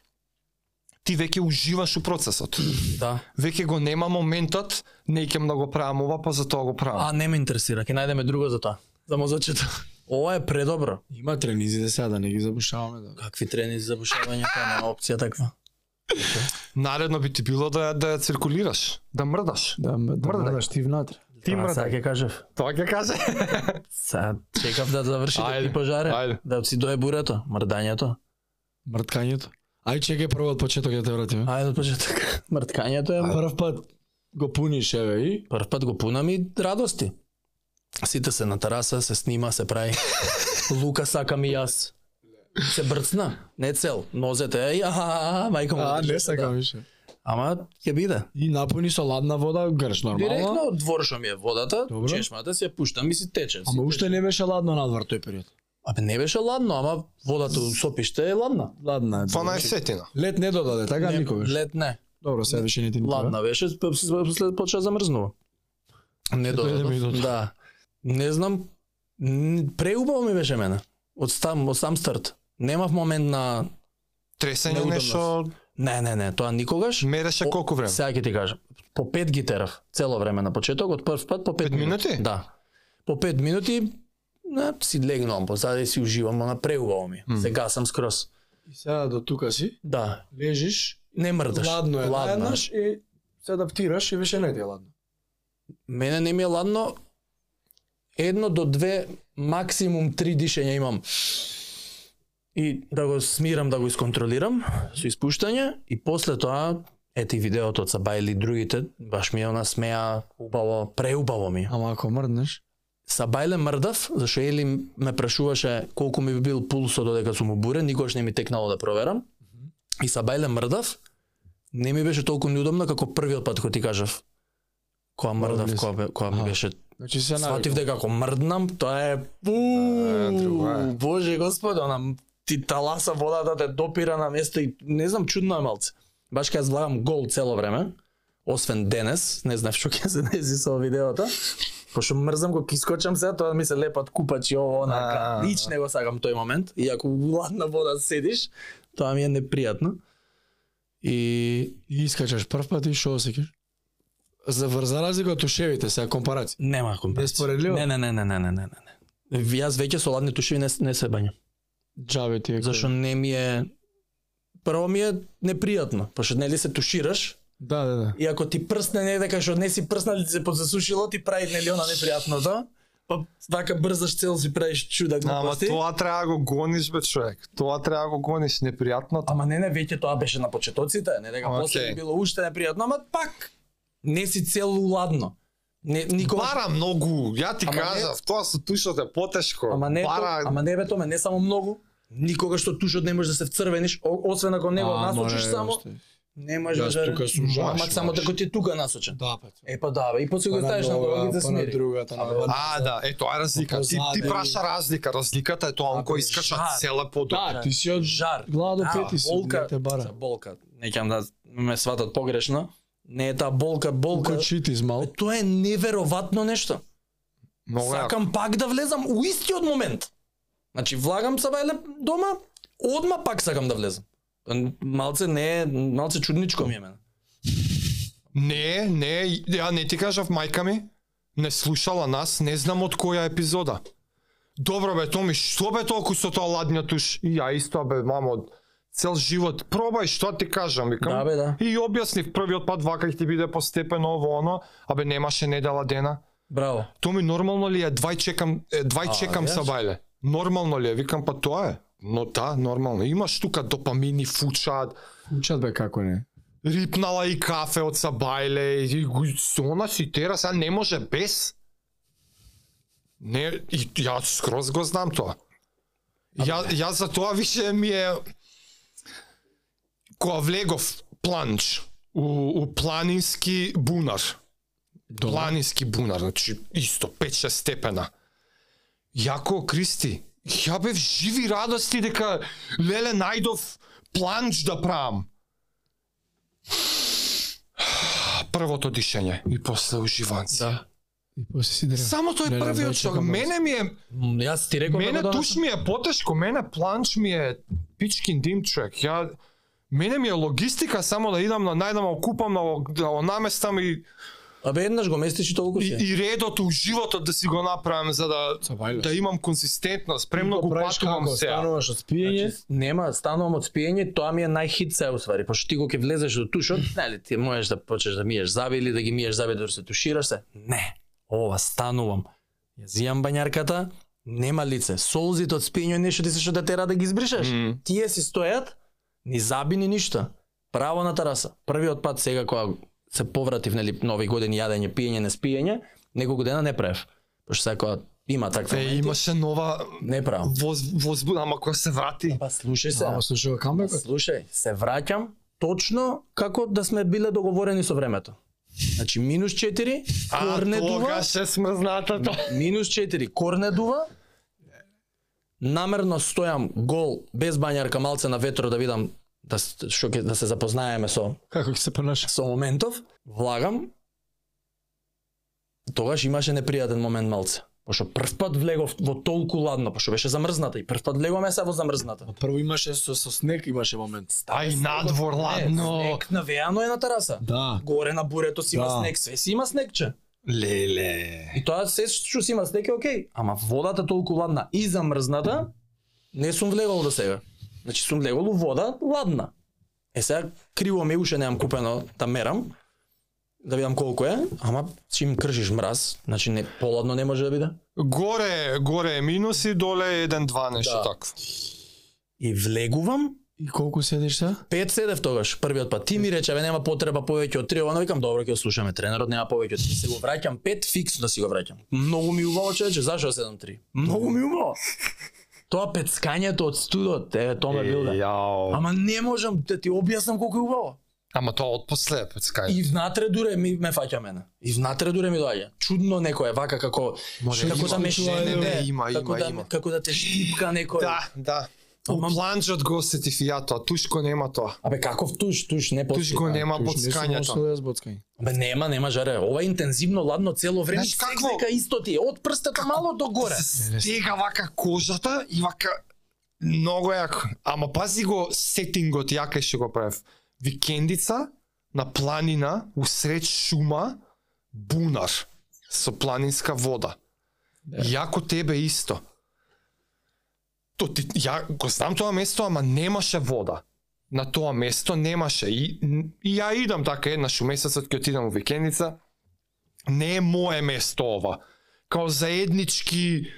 Ти веќе уживаш у процесот. Да. Веќе го нема моментот, неќам да го правам ова, па затоа го правам. А не ме интересира, ќе најдеме друго за тоа. За мозочето. Ова е предобро. Има тренизите сега да не ги забушаваме да. Какви трени за бушавање тоа нема опција таква. Наредно би ти било да да ја циркулираш, да мрдаш. Да, да Мрдај. мрдаш ти внатре. Ти Тоа сега мрдај. ќе кажав. Тоа ќе каже. Сега чекав да заврши да Ајде, ти пожаре, ајде. да си дое бурето, мрдањето. Мрткањето. Ај чекај прво од почеток ја те вратиме. Ајде од почеток. Мрткањето е Прв пат го пуниш еве и Прв пат го пунам и радости. Сите се на тераса, се снима, се прави. Лука сакам и јас. Се брцна, не цел. Нозете, еј, аха, аха, мајка му. А, не сакам Да. више. Ама ќе биде. И напуни со ладна вода, грш нормално. Директно од дворшо ми е водата, Добро. чешмата си ја пуштам и си тече. Ама уште не беше ладно надвор тој период. Абе не беше ладно, ама водата у сопиште е ладна. Ладна е. Па Значи, најсетина. Лед не додаде, така Не, никогаш. Лед не. Добро, сега више не ти ни треба. Ладна беше, п- п- после почна да замрзнува. Не Дојде ми до до тоа. Да. Не знам, н- преубаво ми беше мене. Од сам, од сам старт. Немав момент на... Тресење Неудобно. нешто Не, не, не, тоа никогаш. мереше О, колку време? Сега ќе ти кажам. По 5 ги терав цело време на почеток, од прв пат по 5 Пет минути? Да. По 5 минути не, си легнувам, позади си уживам, на преубаво ми. Мм. Mm. Сега сам скрос. И сега до тука си, Да. лежиш, Не мрдаш. ладно е, да, Ладно. ладнаш и се адаптираш и више не ти е ладно. Мене не ми е ладно. Едно до две, максимум три дишења имам. И да го смирам, да го исконтролирам со испуштање и после тоа ети видеото од Саба или другите, баш ми е она смеа убаво, преубаво ми. е. Ама ако мрднеш, Сабајле мрдав, зашо Ели ме прашуваше колку ми бил пулсот додека сум обурен, никогаш не ми текнало да проверам. И Сабајле мрдав, не ми беше толку неудобно како првиот пат кој ти кажав. Која мрдав, влез. која, бе- која ми Аха. беше значи се Сватив навикам. дека ако мрднам, тоа е... Е, друго е. Уу, Боже господи, она ти таласа водата те допира на место и не знам чудно е малце. Баш кога влагам гол цело време, освен денес, не знам што ќе се дези со видеото. Пошто мрзам го кискочам се, тоа ми се лепат купачи ово онака. А. Нич не го сакам тој момент. И ако у ладна вода седиш, тоа ми е непријатно. да- И И искачаш прв пат и што осеќаш? За врза разлика од тушевите, сега компарација. нема компензација. Неспоредливо? Значи, Не, не, не, не, не, не, не, не. Јас веќе со ладни тушеви не, не се бањам. Джабе ти е. зашто кој. не ми е прво ми е непријатно, пошто нели се тушираш Да, да, да. и ако ти прсне не дека што не си прснал ти се подзасушило ти прави нели она непријатното. Па така брзаш цел си правиш чуда Ама глупости. тоа треба да го гониш бе човек. Тоа треба да го гониш непријатното. Ама не, не, веќе тоа беше на почетоците, не дека Океј. после било уште непријатно, ама пак не си целу ладно. Не, никога... Бара многу, ја ти Ама не- кажав, тоа со тушот е потешко. Ама не, Бара... то, ама не бе томе, не само многу, никога што тушот не може да се вцрвениш, о- освен ако не го А, насочиш море, само, остави. не може Јас да... тука сум жаш, Ама само жаш. дека ти тука насочен. Да, па. Е па да, бе, и после Па го на ставиш на нова, глава да па на смири. другата, на Абе, вана. А, да, е тоа е разлика. Ти, ти Позади. праша разлика. Разликата е тоа, он Ако кој е искаша жар. цела подобра. Да, ти си од Жар. глава до Да, пети си, болка, не те бара. за болка. Неќам да ме сватат погрешно, не е таа болка, болка. Колку читис мал. Тоа е неверојатно нешто. Много е. Сакам пак да влезам у истиот момент. Значи влагам се бајле дома, одма пак сакам да влезам. Малце не е, малце чудничко ми е мене. Не, не, ја не ти кажав мајка ми, не слушала нас, не знам од која епизода. Добро бе, Томи, што бе толку со тоа ладња туш? И ја исто бе, мамо, цел живот, пробај, што ти кажам, викам. Да, бе, да. И ја објаснив првиот пат вака ќе ти биде постепено ово оно, абе немаше недела дена. Браво. Томи, нормално ли е, двај чекам, е, двај А, чекам са јас? бајле. Нормално ли е, викам, па тоа е. Но да, нормално. Имаш тука допамини, фучат, Учат бе како не. рипнала и кафе од Сабајле и го- со она си тера, сега не може без. Не, и ја скроз го знам тоа. Ја, ја за тоа више ми е кога влегов планч у, у планински бунар. Планински бунар, значи исто 5-6 степена. Јако Кристи, ја бев живи радости дека леле најдов планч да правам првото дишење и после уживанци. Да. И после си древа. Само тој Не, не, првиот знаеш што како мене ми е М, Јас ти реков мене да го туш ми е потешко, мене планч ми е пичкин дим човек. Ја мене ми е логистика само да идам на најдам, купам, да го, да го наместам и, Абе еднаш го местиш и толку си. и, и редот у животот да си го направам за да Сабајле. да имам консистентност, премногу Го правиш патувам како? се. Стануваш од спиење. Значи, нема, станувам од спиење, тоа ми е најхит се усвари, пошто ти го ќе влезеш до тушот, нели ти можеш да почнеш да миеш заби или да ги миеш заби дори се тушираш се. Не, ова станувам. Ја зијам бањарката, нема лице, солзите од спиење нешто ти се што да тера да ги избришеш. Мм. Тие си стојат, ни заби ни ништа. Право на тараса. Првиот пат сега кога се повратив нели нови години јадење, пиење, не спиење, неколку дена не прев. Пошто сега кога има таква, Е, имаше нова не правам. воз, возбуда, ама кога се врати. Па слушај се. Само слушува камбекот. Слушај, се враќам точно како да сме биле договорени со времето. Значи минус 4, корнедува, тогаш е смрзнатата. минус 4, корнедува, намерно стојам гол без бањарка малце на ветро да видам да с- што ќе да се запознаеме со Како ќе се понаша? со моментов, влагам. Тогаш имаше непријатен момент малце. Пошто прв пат влегов во толку ладно, пошто беше замрзната и прв пат влегоме се во замрзната. Прво имаше со, со снег имаше момент. Ај надвор ладно. Не, снег навејано е на тераса. Да. Горе на бурето си има Да. снег, све си има снегче. Леле. И тоа се што си има снег е окей, ама водата толку ладна и замрзната, не сум влегол до сега. Значи сум влегол у вода ладна. Е сега криво ми е, уште немам купено да мерам да видам колку е, ама чим кршиш мраз, значи не поладно не може да биде. Горе, горе е минус и доле е 1-2 нешто Да. да. такво. И влегувам, И колку седиш се? Пет седев тогаш, првиот пат. Ти ми рече, бе, нема потреба повеќе од три, ова викам, добро, ќе го слушаме тренерот, нема повеќе од три. Се го враќам пет, фиксно да си го враќам. Многу ми убаво, човече, зашо седам три? Многу ми убаво. Тоа пецкањето од студот, е, тоа ме билде. Јао. Ама не можам да ти објаснам колку е убаво. Ама тоа од после пецкај. И внатре дуре ми ме фаќа мене. И внатре дуре ми доаѓа. Чудно некој е вака како Може, како има, да ме не, не, не, штипне, има, како има, да има. како да те штипка некој. Да, да. У Ама- планџот го сетив и ја тоа, туш го нема тоа. Абе каков туш, туш не Туш постои. го нема Туш не сум подскањето. јас боцкање. Бе нема, нема жаре. Ова интензивно ладно цело време. Знаеш Знаеш какво? какво? Дека исто ти е, од прстата мало до горе. Се Стега вака кожата и вака многу јако. Ама пази го сетингот јака што го правев. Викендица на планина, усред шума, бунар со планинска вода. Да. Јако тебе исто. То ти, ја го знам тоа место, ама немаше вода. На тоа место немаше. И, и ја идам така еднаш у месецот ќе отидам у викендица. Не е мое место ова. Као заеднички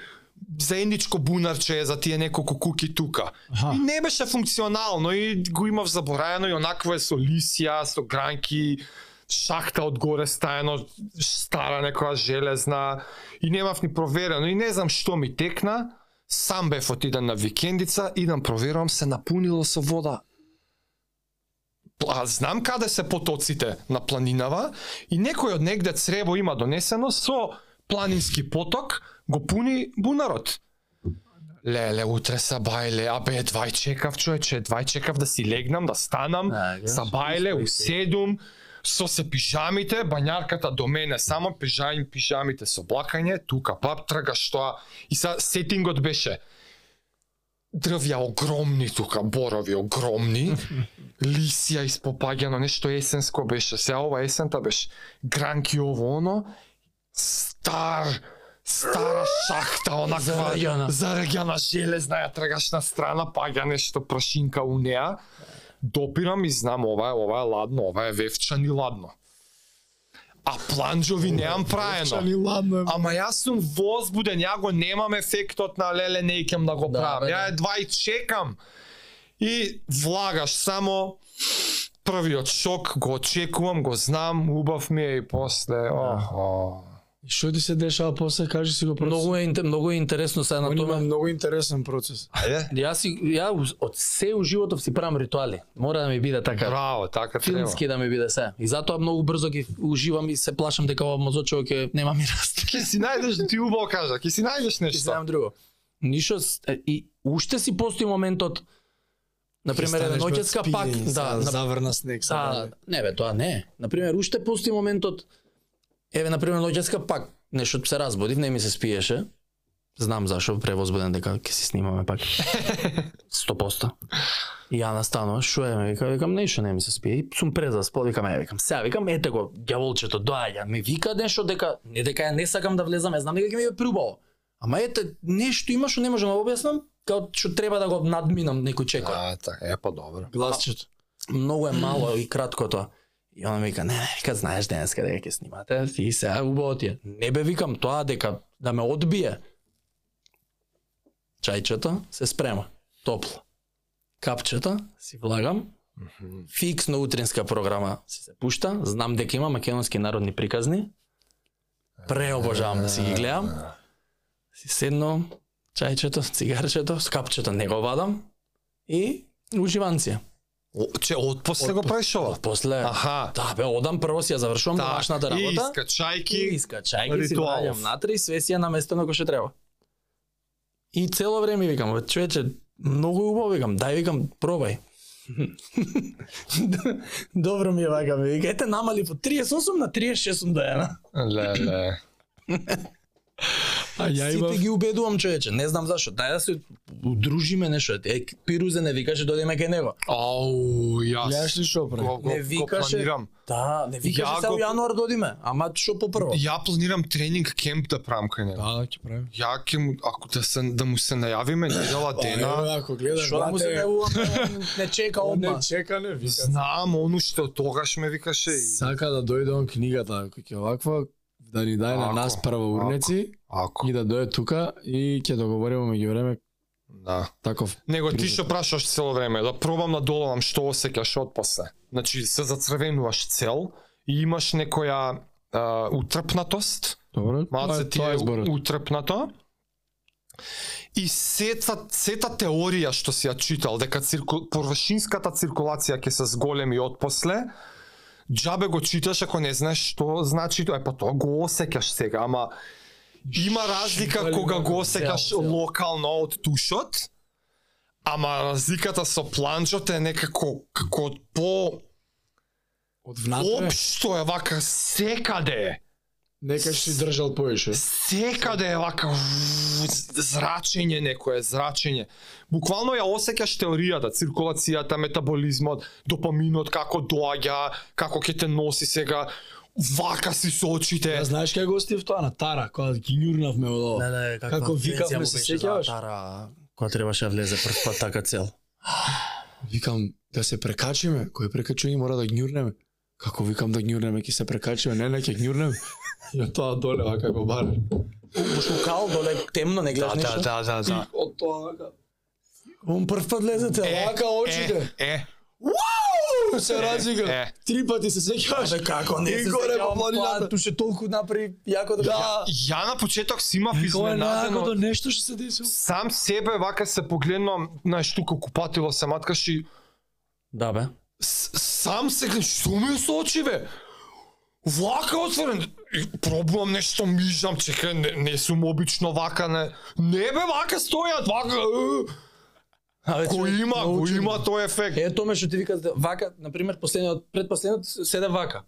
заедничко бунарче е за тие неколку куки тука. Аха. И не беше функционално и го имав забораено и онакво е со лисија, со гранки, шахта одгоре стаено, стара некоја железна и немав ни проверено и не знам што ми текна. Сам бев отиден на викендица, идам проверувам се напунило со вода. А знам каде се потоците на планинава и некој од негде црево има донесено со планински поток, го пуни бунарот. Леле, утре са бајле, абе, двај чекав, човече, двај чекав да си легнам, да станам, Да, гледаш, са бајле, у успех. седум, со се пижамите, бањарката до мене, само пижам, пижамите со блакање, тука паптрага, што... И са сетингот беше, дрвја огромни тука, борови огромни, лисија испопаѓано, нешто есенско беше, се ова есента беше, гранки ово оно, стар, стара шахта, онаква, Зараѓана. зараѓана железна, ја трагаш на страна, паѓа нешто прашинка у неа, допирам и знам ова е, ова е ладно, ова е вевчан и ладно. А планџови неам праено. Чани ладно е. Ама јас сум возбуден, ја го немам ефектот на леле не икем да го Да, правам. бе, да. Ја едва и чекам. И влагаш само првиот шок, го очекувам, го знам, убав ми е и после. Охо. И што ти се дешава после, кажи си го процес. Многу е инте- многу е интересно сега на Он има тоа. многу интересен процес. Ајде. Јас си ја од се у животов си правам ритуали. Мора да ми биде така. Браво, така треба. Филмски да ми биде се. И затоа многу брзо ги уживам и се плашам дека ова мозочево ќе нема ми раст. Ке си најдеш, ти убаво кажа, ке си најдеш Ќе нешто. знам друго. Ништо с- е, и уште си постои моментот на пример еден ноќеска пак да, на заврна снег А, да не бе, тоа не. На пример, уште пусти моментот еве на пример ноќеска пак нешто се разбудив, не ми се спиеше. Знам зашо, превозбуден дека ќе си снимаме пак. 100%. И ја настанува, шо е, ме вика, викам, нешто не ми се спие. И сум презаспал, викам, е, викам, сега, викам, ете го, дјаволчето доаѓа, ми вика нешто дека, не дека ја не сакам да влезам, ја знам дека ќе ми е прубаво. Ама ете, нешто има што не можам да го објаснам, као што треба да го надминам некој чекор А, така, е па добро. гласчето. многу е мало и кратко тоа. И она ми вика, не, не, вика, знаеш денеска дека ќе снимате, и сега убаво ти е. Не бе викам тоа дека да ме одбие. Чајчето се спрема, топло. Капчето си влагам, фиксно утринска програма си се пушта, знам дека има македонски народни приказни, преобожавам да си ги гледам, си седнам, чајчето, цигарчето, капчето не го вадам и уживанција. О, Че, од после го правиш ова? После, Аха. да, бе, одам прво си ја завршувам Так, домашната И работа. искачајки, искачајки си ритуалов. враѓам натре и све си ја наместено кој што треба. И цело време викам, бе, човече, многу е убаво викам, дај викам, пробај. Добро ми е вака, ми вика, ете намали по 38 на 36 сум дајана. леле. А ја Сите имав ги убедувам човече, не знам зашо, дај да се удружиме нешто. Е, Пирузе не викаше додеме кај него. Ау, Гледаш јас. ли што прави? Го, го, Не го викаше. планирам. Да, не викаше Ја се го- у јануар додиме, ама што попрво? Ја планирам тренинг кемп да правам кај него. Да, ќе правим. Ја ќе му, ако да се да му се најавиме недела дена. Ова, ако гледаш, Што да му се брате, најавуваме, не чека он одма. не чека, не вика. Знам, ону што тогаш ме викаше. и- Сака да дојде он книгата, ако ќе оваква, да ни даде на Ако, нас прво урнеци Ако, и да дојде тука и ќе договориме меѓу време да. таков. Него ти што прашаш цело време, да пробам да доловам што осеќаш од после. Значи се зацрвенуваш цел и имаш некоја а, утрпнатост. Добро? Малце ти тоа е е зборот. утрпнато. И сета, сета теорија што си ја читал, дека цирку, површинската циркулација ќе се зголеми од после, джабе го читаш ако не знаеш што значи тоа, е па тоа го осеќаш сега, ама има разлика Шибали кога го го, осеќаш цел, цел. локално од тушот, ама разликата со планџот е некако како по Од внатре, општо е вака секаде е. нека си држал поише. Секаде да е вака ву, зрачење некое, зрачење. Буквално ја осеќаш теоријата, циркулацијата, метаболизмот, допаминот како доаѓа, како ќе те носи сега, вака си со очите. Ја знаеш кај гости в тоа на Тара, кога ги њурнавме од ова. Не, не, каква Како викавме, пензија му се беше за сеќаваш? Атара, Која требаше да влезе прв пат така цел. Викам да се прекачиме, кој прекачува и мора да њурнеме. Како викам да њурнеме, ќе се прекачиме, не не ќе њурнеме. И од тоа доле вака го бара. Пошто кал доле темно не гледаш ништо. да, да, да. Од тоа вака. Он прв пат влезе цел. Е, Вака очите. Е, е, Уау! Се разига. е. Три пати се сеќаваш. Абе како не И се горе сеќавам по планината. тоа, туше толку направи јако да. Да. Ја на почеток си имав Кој е да- изненадено. најакото нешто што се десило? Сам себе вака се погледнам, знаеш, тука купатило се маткаш и Да бе. с- сам се гледам, што ми е со очи бе? Влака отворен, и пробувам нешто мижам, чека, не, не сум обично вака, не. Не бе, вака стојат, вака. е. А, веќе Го има, го научи има го. тој ефект. Па Е, тоа што ти вика вака, на пример, последниот предпоследниот седе вака.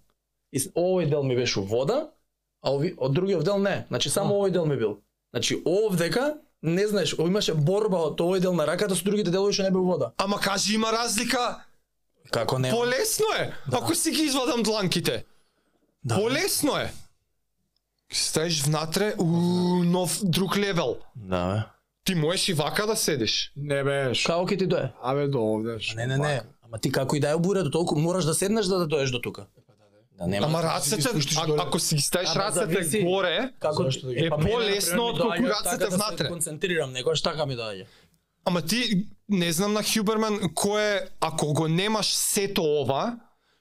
И с- овој дел ми беше вода, а ови, од другиот дел не. Значи само овој дел ми бил. Значи овдека не знаеш, о, имаше борба од овој дел на раката со другите делови што не бил вода. Ама кажи има разлика, Како не? полесно е, ако си ги извадам дланките. Да. Полесно е. Стаеш внатре, у, нов друг левел. Да, бе. Ти можеш и вака да седиш. Не беш. Како ќе ти дое? Абе до овде. шо Не, не, не. Ама ти како и да ја обуре до толку, мораш да седнеш да, да доеш до тука. Да, нема. Ама си ги рацете, спуштиш а- доле. ако си ги ставиш Ама зависи. рацете горе, како Зошто да ги- е па мене, по-лесно например, ми од колку доаѓа рацете така Да внатре. се концентрирам, некојаш така ми доаѓа. Ама ти не знам на Хюберман кое ако го немаш сето ова,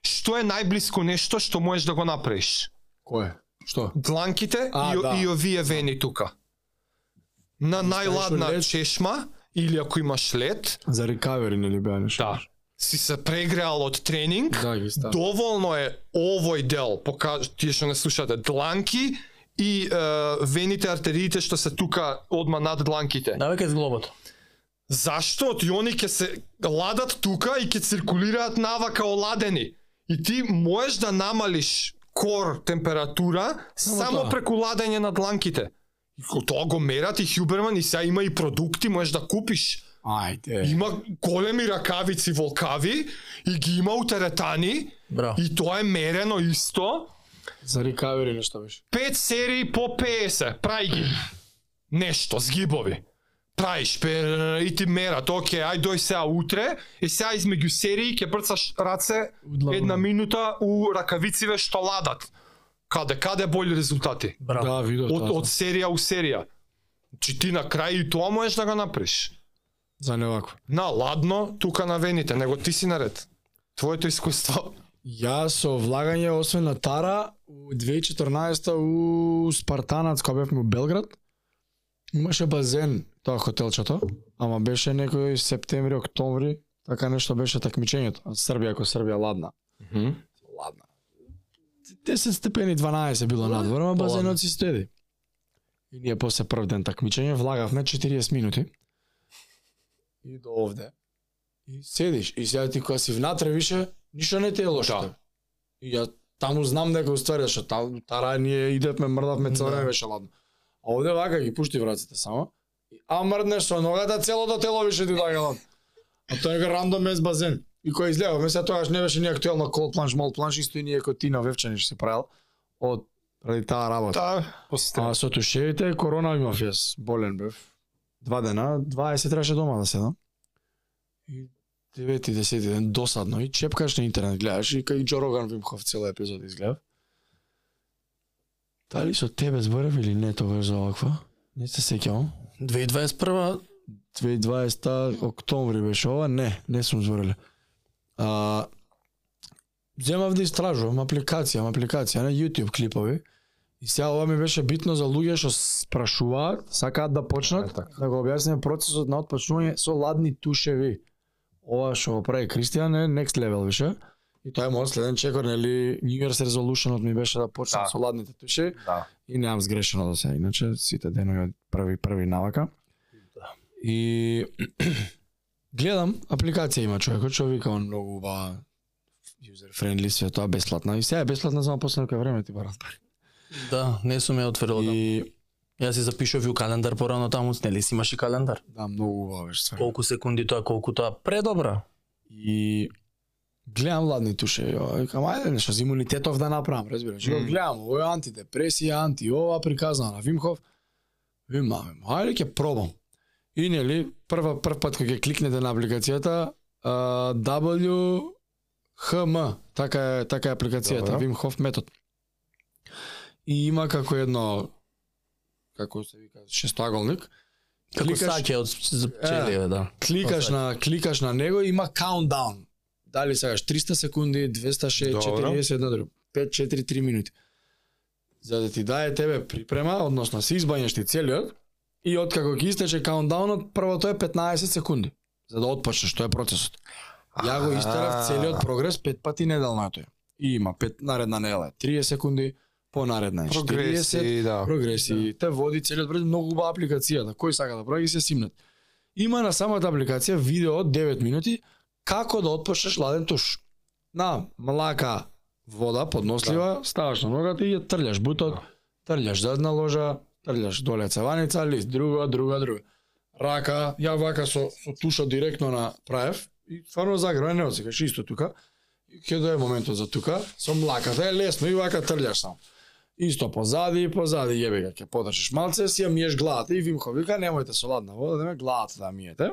што е најблиско нешто што можеш да го направиш? Кој? Што? Дланките А, и, о- да. и овие вени тука. На ставиш најладна лед. чешма или ако имаш лед, За рекавери нели беа нешто? да. Си се прегреал од тренинг, Да, ги ставам. доволно е овој дел, покаж тие што не слушате, дланки и е, вените артериите што се тука одма над дланките. Да, веќе зглобото. Зашто? Ти они ќе се ладат тука и ќе циркулираат навака оладени. И ти можеш да намалиш кор температура само, само тоа. преку ладење на дланките. И ко- тоа го мерат и Хюберман и сега има и продукти, можеш да купиш. Ајде. Има големи ракавици волкави и ги има утеретани Браво. и тоа е мерено исто. За рекавери нешто беше. Пет серии по 50, прај ги. Нешто, згибови. Праиш, пе, и ти мерат, окей, ај дој сега утре, и сега измеѓу серии ќе брцаш раце Удлабно. една минута у ракавициве што ладат. Каде, каде боли резултати? Браво. Да, видов Од, тоа. од серија у серија. Чи ти на крај и тоа можеш да го направиш. За не вако. На ладно, тука на вените, него ти си наред. Твоето искуство. Јас со влагање освен на Тара у 2014 у Спартанац кога бевме у Белград имаше базен тоа хотелчето, ама беше некој септември, октомври, така нешто беше такмичењето. А Србија кој Србија ладна. Ладна. 10 степени 12 било надвор, ама Поладно. базенот си стоеди. И ние после прв ден такмичење влагавме 40 минути. И до овде. И седиш и сега ти кога си внатре више ништо не те е лошо. Да. И ја таму знам дека уствари што таму тара ние идевме мрдавме цело Да. време беше ладно. А овде вака ги пушти враците само. И, А мрднеш со ногата целото тело више ти дај ладно. А тоа е некој рандом ес базен. И кој излегавме се тогаш не беше ни актуелно кол планш, мол планш, исто и ние кој ти на Вевчани што си правил од преди таа работа. Да, А со тушевите корона имав јас, болен бев. Два дена, 20 траше дома да седам. И 9 и 10 ден досадно и чепкаш на интернет, гледаш и кај Джороган Вимхов цела епизода изгледав. Дали со тебе зборев или не тогаш за оваква? Не се сеќавам. 2021 2020 октомври беше ова, не, не сум збореле. А земав да истражувам апликација, апликација на YouTube клипови. И сега ова ми беше битно за луѓе што спрашуваат, сакаат да почнат, така. да го објасниме процесот на отпочнување со ладни тушеви. Ова што го прави Кристијан е next level више. И тоа е мојот следен чекор, нели, New Year's resolution ми беше да почнам Да. со ладните тушеви да. и немам сгрешено до сега. Иначе сите денови од први први навака. И гледам, апликација има човекот, што вика он многу убава user friendly све тоа бесплатна. И сега е бесплатна само после некој време ти барат пари. Да, не сум ја отворил. И... И Јас си запишав ју календар порано таму, нели си имаш и календар. да, многу убава беше ствар. Колку секунди тоа, колку тоа, предобра. И гледам ладни тушеви, ова, викам ајде нешто за имунитетов да направам, разбираш. Mm. Мм. Гледам, ово е антидепресија, анти ова приказано на Вимхов. Вим, маме, ајде ќе пробам. И нели прва прв пат кога ќе кликнете на апликацијата а, W HM, така е така е апликацијата, Добро. Вим Хоф метод. И има како едно како се вика шестоаголник. Како Кликаш- саќе од з- пчели, да. кликаш на кликаш на него има countdown. Дали сакаш 300 секунди, 260, Добро. 40, едно друго. 5 4 3 минути. За да ти дае тебе припрема, односно си избањаш ти целиот и откако ќе истече countdownот, првото е 15 секунди за да отпочнеш, тоа е процесот. Ја го истерав целиот прогрес пет пати неделно е тој. И има пет наредна недела, е 30 секунди, понаредна е. Прогреси, да. прогресии. Те води целиот бред многу убава апликацијата. Кој сака да прави ги се симнат. Има на самата апликација видео од 9 минути како да отпушеш ладен туш. На млака вода поднослива, Да. ставаш на ногата и ја трљаш бутот, трљаш задна ложа, трљаш доле цеваница, лист, друга, друга, друга. Рака, ја вака со, со туша директно на праев и стварно заграна не осекаш исто тука. Ќе дое моментот за тука, со млаката е лесно и вака трљаш само. Исто позади и позади јебе га ќе подршиш малце, си ја миеш главата и Вим Хоф вика немојте со ладна вода, да ме главата да миете.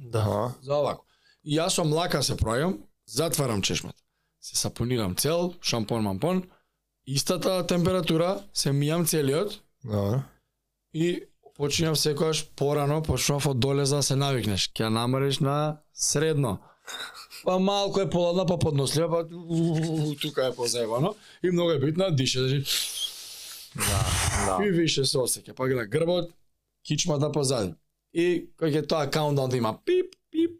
Да. За овако. И јас со млака се пројам, затварам чешмата. Се сапонирам цел, шампон мампон, истата температура, се мијам целиот Да. и починам секогаш порано, почнав од доле за да се навикнеш. Ќе ја намериш на средно. Па малку е поладна, па поднослива, па тука е позаебано. И многу е битна, дише, диши. Да. И више се осеќа. Па гледа грбот, кичмата позади. И кој ќе тоа countdown да има пип, пип,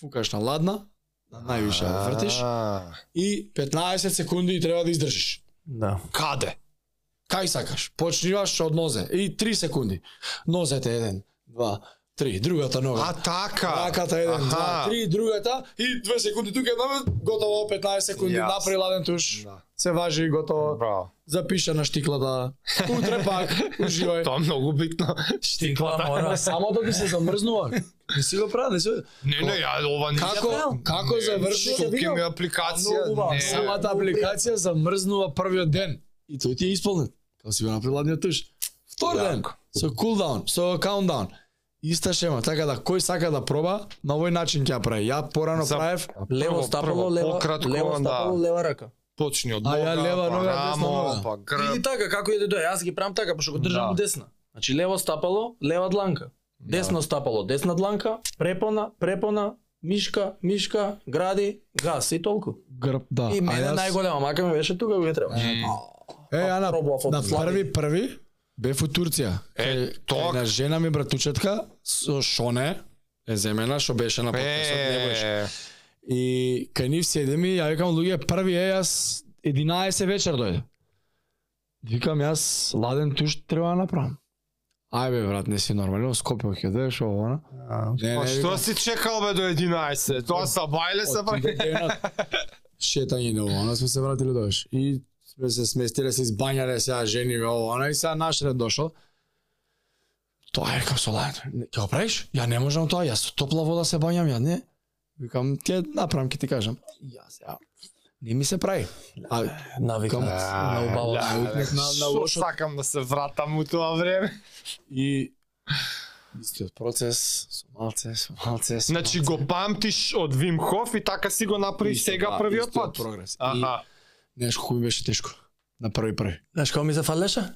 фукаш на ладна, на највише ја вртиш А, и 15 секунди треба да издржиш. Да. Каде? Кај сакаш? Почниваш од нозе и 3 секунди. Нозете еден, два, три, другата нога. А, така. Раката еден, Аха. два, три, другата и 2 секунди тука една, готово 15 секунди Јас. Да. напри ладен туш. Се важи и готово. Браво. Запиша на штиклата. Утре пак уживај. Тоа е многу битно. Штикла мора. Само да би се замрзнува. Не си го правил, не си. го- Не, не, ја ова не. Како како заврши Колке ми апликација? Многу не. самата апликација замрзнува првиот ден и тој ти е исполнет. Како си го направил ладниот туш. Втор ден со кулдаун, со каундаун. Иста шема, така да кој сака да проба, на овој начин ќе ја прави. Ја порано За- правев, Лево Прво, стапало, прво, лево, пократко, лево да. стапало, лева рака. Почни од А нога, ја лева па нога, десна рамо, нога. па Или грб. така, како иде тоа, јас ги правам така, пошто го Да. држам да. десна. Значи лево стапало, лева дланка. Десно стапало, десна дланка, препона, препона, мишка, мишка, гради, газ и толку. грб, да. И мене А јас- најголема мака ми беше тука кој треба. Е, ја на, пробував од на Слави. први први бев у Турција. Е, Кај- тоа- кај на жена ми братучетка со Шоне е земена што беше на подкастот, така, не беше. Е, И кај нив седеми, ја викам луѓе, први е јас 11 вечер дојде. Викам јас ладен туш треба да направам. Ај бе брат, не си нормален, во Скопје ќе дојдеш ово она. Не, Па што викам, си чекал бе до 11? Тоа са бајле се од бајле. тие денот Шетање на ово, она сме се вратили дојдеш. И сме се сместиле, се избањале, сега жени ме ово, она и сега наш ред дошол. Тоа е како со ладен. Ќе го правиш? Ја не можам тоа, јас со топла вода се бањам, ја не. Викам, ќе направам, ќе ти кажам. Ја сега. Не ми се прави. А Навикам Кам- се на убава. Навикнав на- на Што лошо. сакам да се вратам у тоа време? И истиот процес, со малце, со малце, со Значи малце. го памтиш од Вим Хоф и така си го направи Исто, сега да, првиот истиот пат. Прогрес. Аха. И знаеш колку ми беше тешко на први први. Знаеш како ми се фалеше?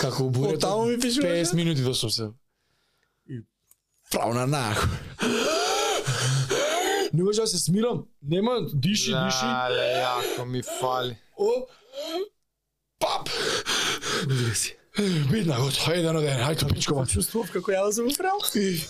Како у бурето. Оттаму ми пишуваше. 50 минути до сум се. И право на наху. Не може да се смирам. Нема, диши, диши. Леле, јако ми фали. О. Пап. Бидна го тоа еден од еден. Хајто пичко мачо. Чувствував како ја да се управ. И,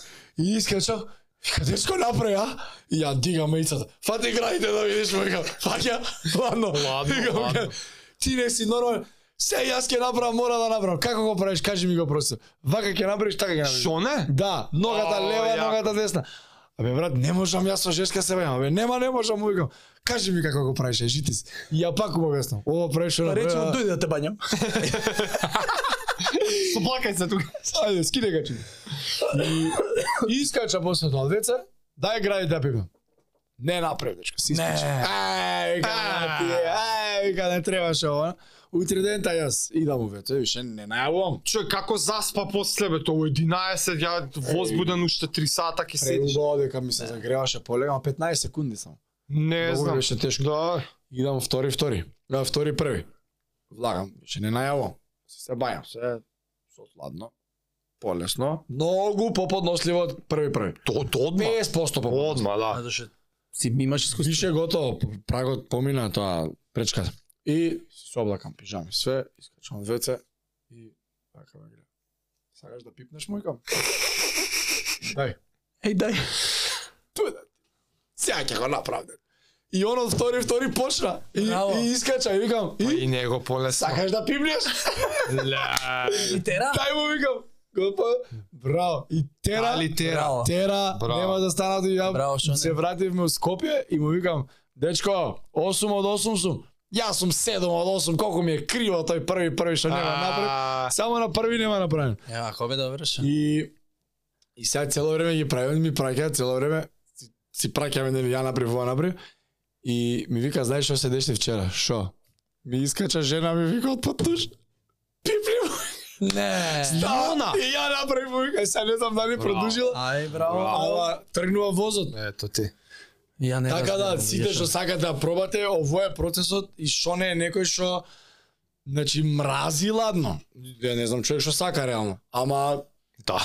и искача, вика, дечко направи, а? И ја дига мајцата. Фати градите да видиш, му вика, фаќа, ладно. Ладно, Вика, му, ладно. Ти не си нормален. Се јас ќе направам, мора да направам. Како го правиш, кажи ми го просто. Вака ќе направиш, така ќе направиш. Што не? Да, ногата О, лева, јако. ногата десна. Абе брат, не можам јас со жешка се бајам. Абе нема, не можам, му викам. Кажи ми како го правиш, е, жити си. И ја пак му објаснам. Ова правиш, Па, ова Речи му правиш. дојде да те бањам. Соплакај се тука. Ајде, скине качи. И, и искача после тоа деца, дај гради да пипам. Не направи, дечко, си искача. Ај, вика, на тие, ај, вика, не требаше ова. Утре ден та јас идам увече, више не најавувам. Чој, како заспа после бе, тоа у 11, ја возбуден уште 3 сата ќе седиш. Преубаво дека ми се загреваше полега, 15 секунди само. Не Многу ми знам. беше тешко. Да. Идам втори, втори. Да, втори, први. Влагам, више не најавувам. Се се бајам, се со сладно. Полесно. Многу поподносливо од први, први. Тоа одма. 50% поподносливо. Одма, да. зашто си имаш искуство. Више готово, прагот помина тоа пречката. И се облакам пижами, све, искачам од WC и така ме гледа. Сакаш да пипнеш мојкам? Дај. Еј дај. да Туде. Сега ќе го направам. дед. И оно втори, втори почна. И, Браво. и искача, и викам, и Па И него понесла. сакаш да пимнеш? И тера. Дај му викам. Гопа, браво. И тера, Али тера. Браво. тера, Браво. нема да станат и ја Браво, што не. се вративме у Скопје и му викам, дечко, 8 од 8 сум. Јас сум 7 од 8, колку ми е криво тој први први што нема направен. А, Само на први нема направен. Ја, ако бе добро ше. И и сега цело време ги прави, они ми праќаат цело време си, си праќаме нели ја направив ова направив. И ми вика, знаеш што се деши вчера? Шо? Ми искача жена ми вика од потуш. Пипли му. Не. Да, и ја направив му вика, сега не знам дали продужила. Ај, браво. Ала тргнува возот. Ето ти. Ја не Така да, разбирам, сите ја што сакате да пробате, ово е процесот и што не е некој што значи мрази ладно. Ја не знам човек што сака реално. Ама Да.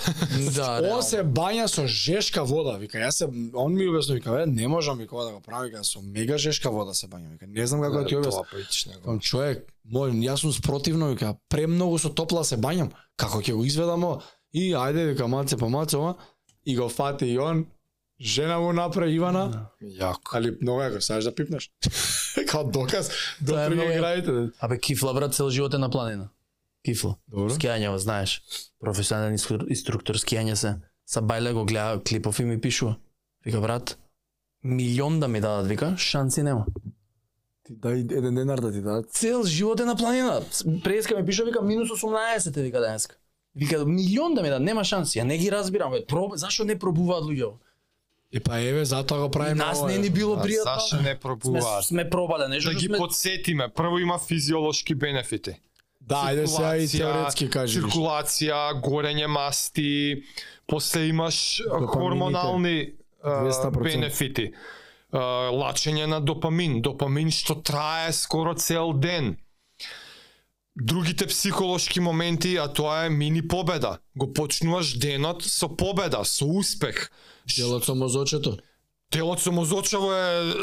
Да, Он реално. се бања со жешка вода, вика. Јас се он ми објасни, вика, «Е, не можам вика ова да го правам, вика, со мега жешка вода се бања, вика. Не знам како да ти објаснам. Кам човек, мој, јас сум спротивно, вика, премногу со топла се бањам. Како ќе го изведам ова? И ајде вика маце по маце ова и го фати и он жена му направи Ивана. Да. Јако. Али многу е, сакаш да пипнеш. Као доказ, до Тоа е три многу јако. играите. да. Абе кифла брат цел живот е на планина. Кифла. Добро. Скијање, бе, знаеш. Професионален инструк- инструктор скијање се. Са бајле го гледа клипов и ми пишува. Вика брат, милион да ми дадат, вика, шанси нема. Ти дај еден денар да ти дадат. Цел живот е на планина. Преска ми пишува вика минус 18 е, вика денеска. Вика милион да ми дадат, нема шанси. Ја не ги разбирам, бе. Проб... зашо не пробуваат луѓето? И па еве затоа го правиме. Нас ова, да. не е. ни било пријатно. Саша не Сме, пробувааш. сме пробале нешто. Да што ги сме... подсетиме. Прво има физиолошки бенефити. Да, ајде сега и Циркулација, теоретски кажи. нешто. Циркулација, горење масти, после имаш а, Допамините. хормонални а, 200%. бенефити. А, Лачење на допамин, допамин што трае скоро цел ден. Другите психолошки моменти, а тоа е мини победа. Го почнуваш денот со победа, со успех. Делот со мозочето. Телото се мозочево е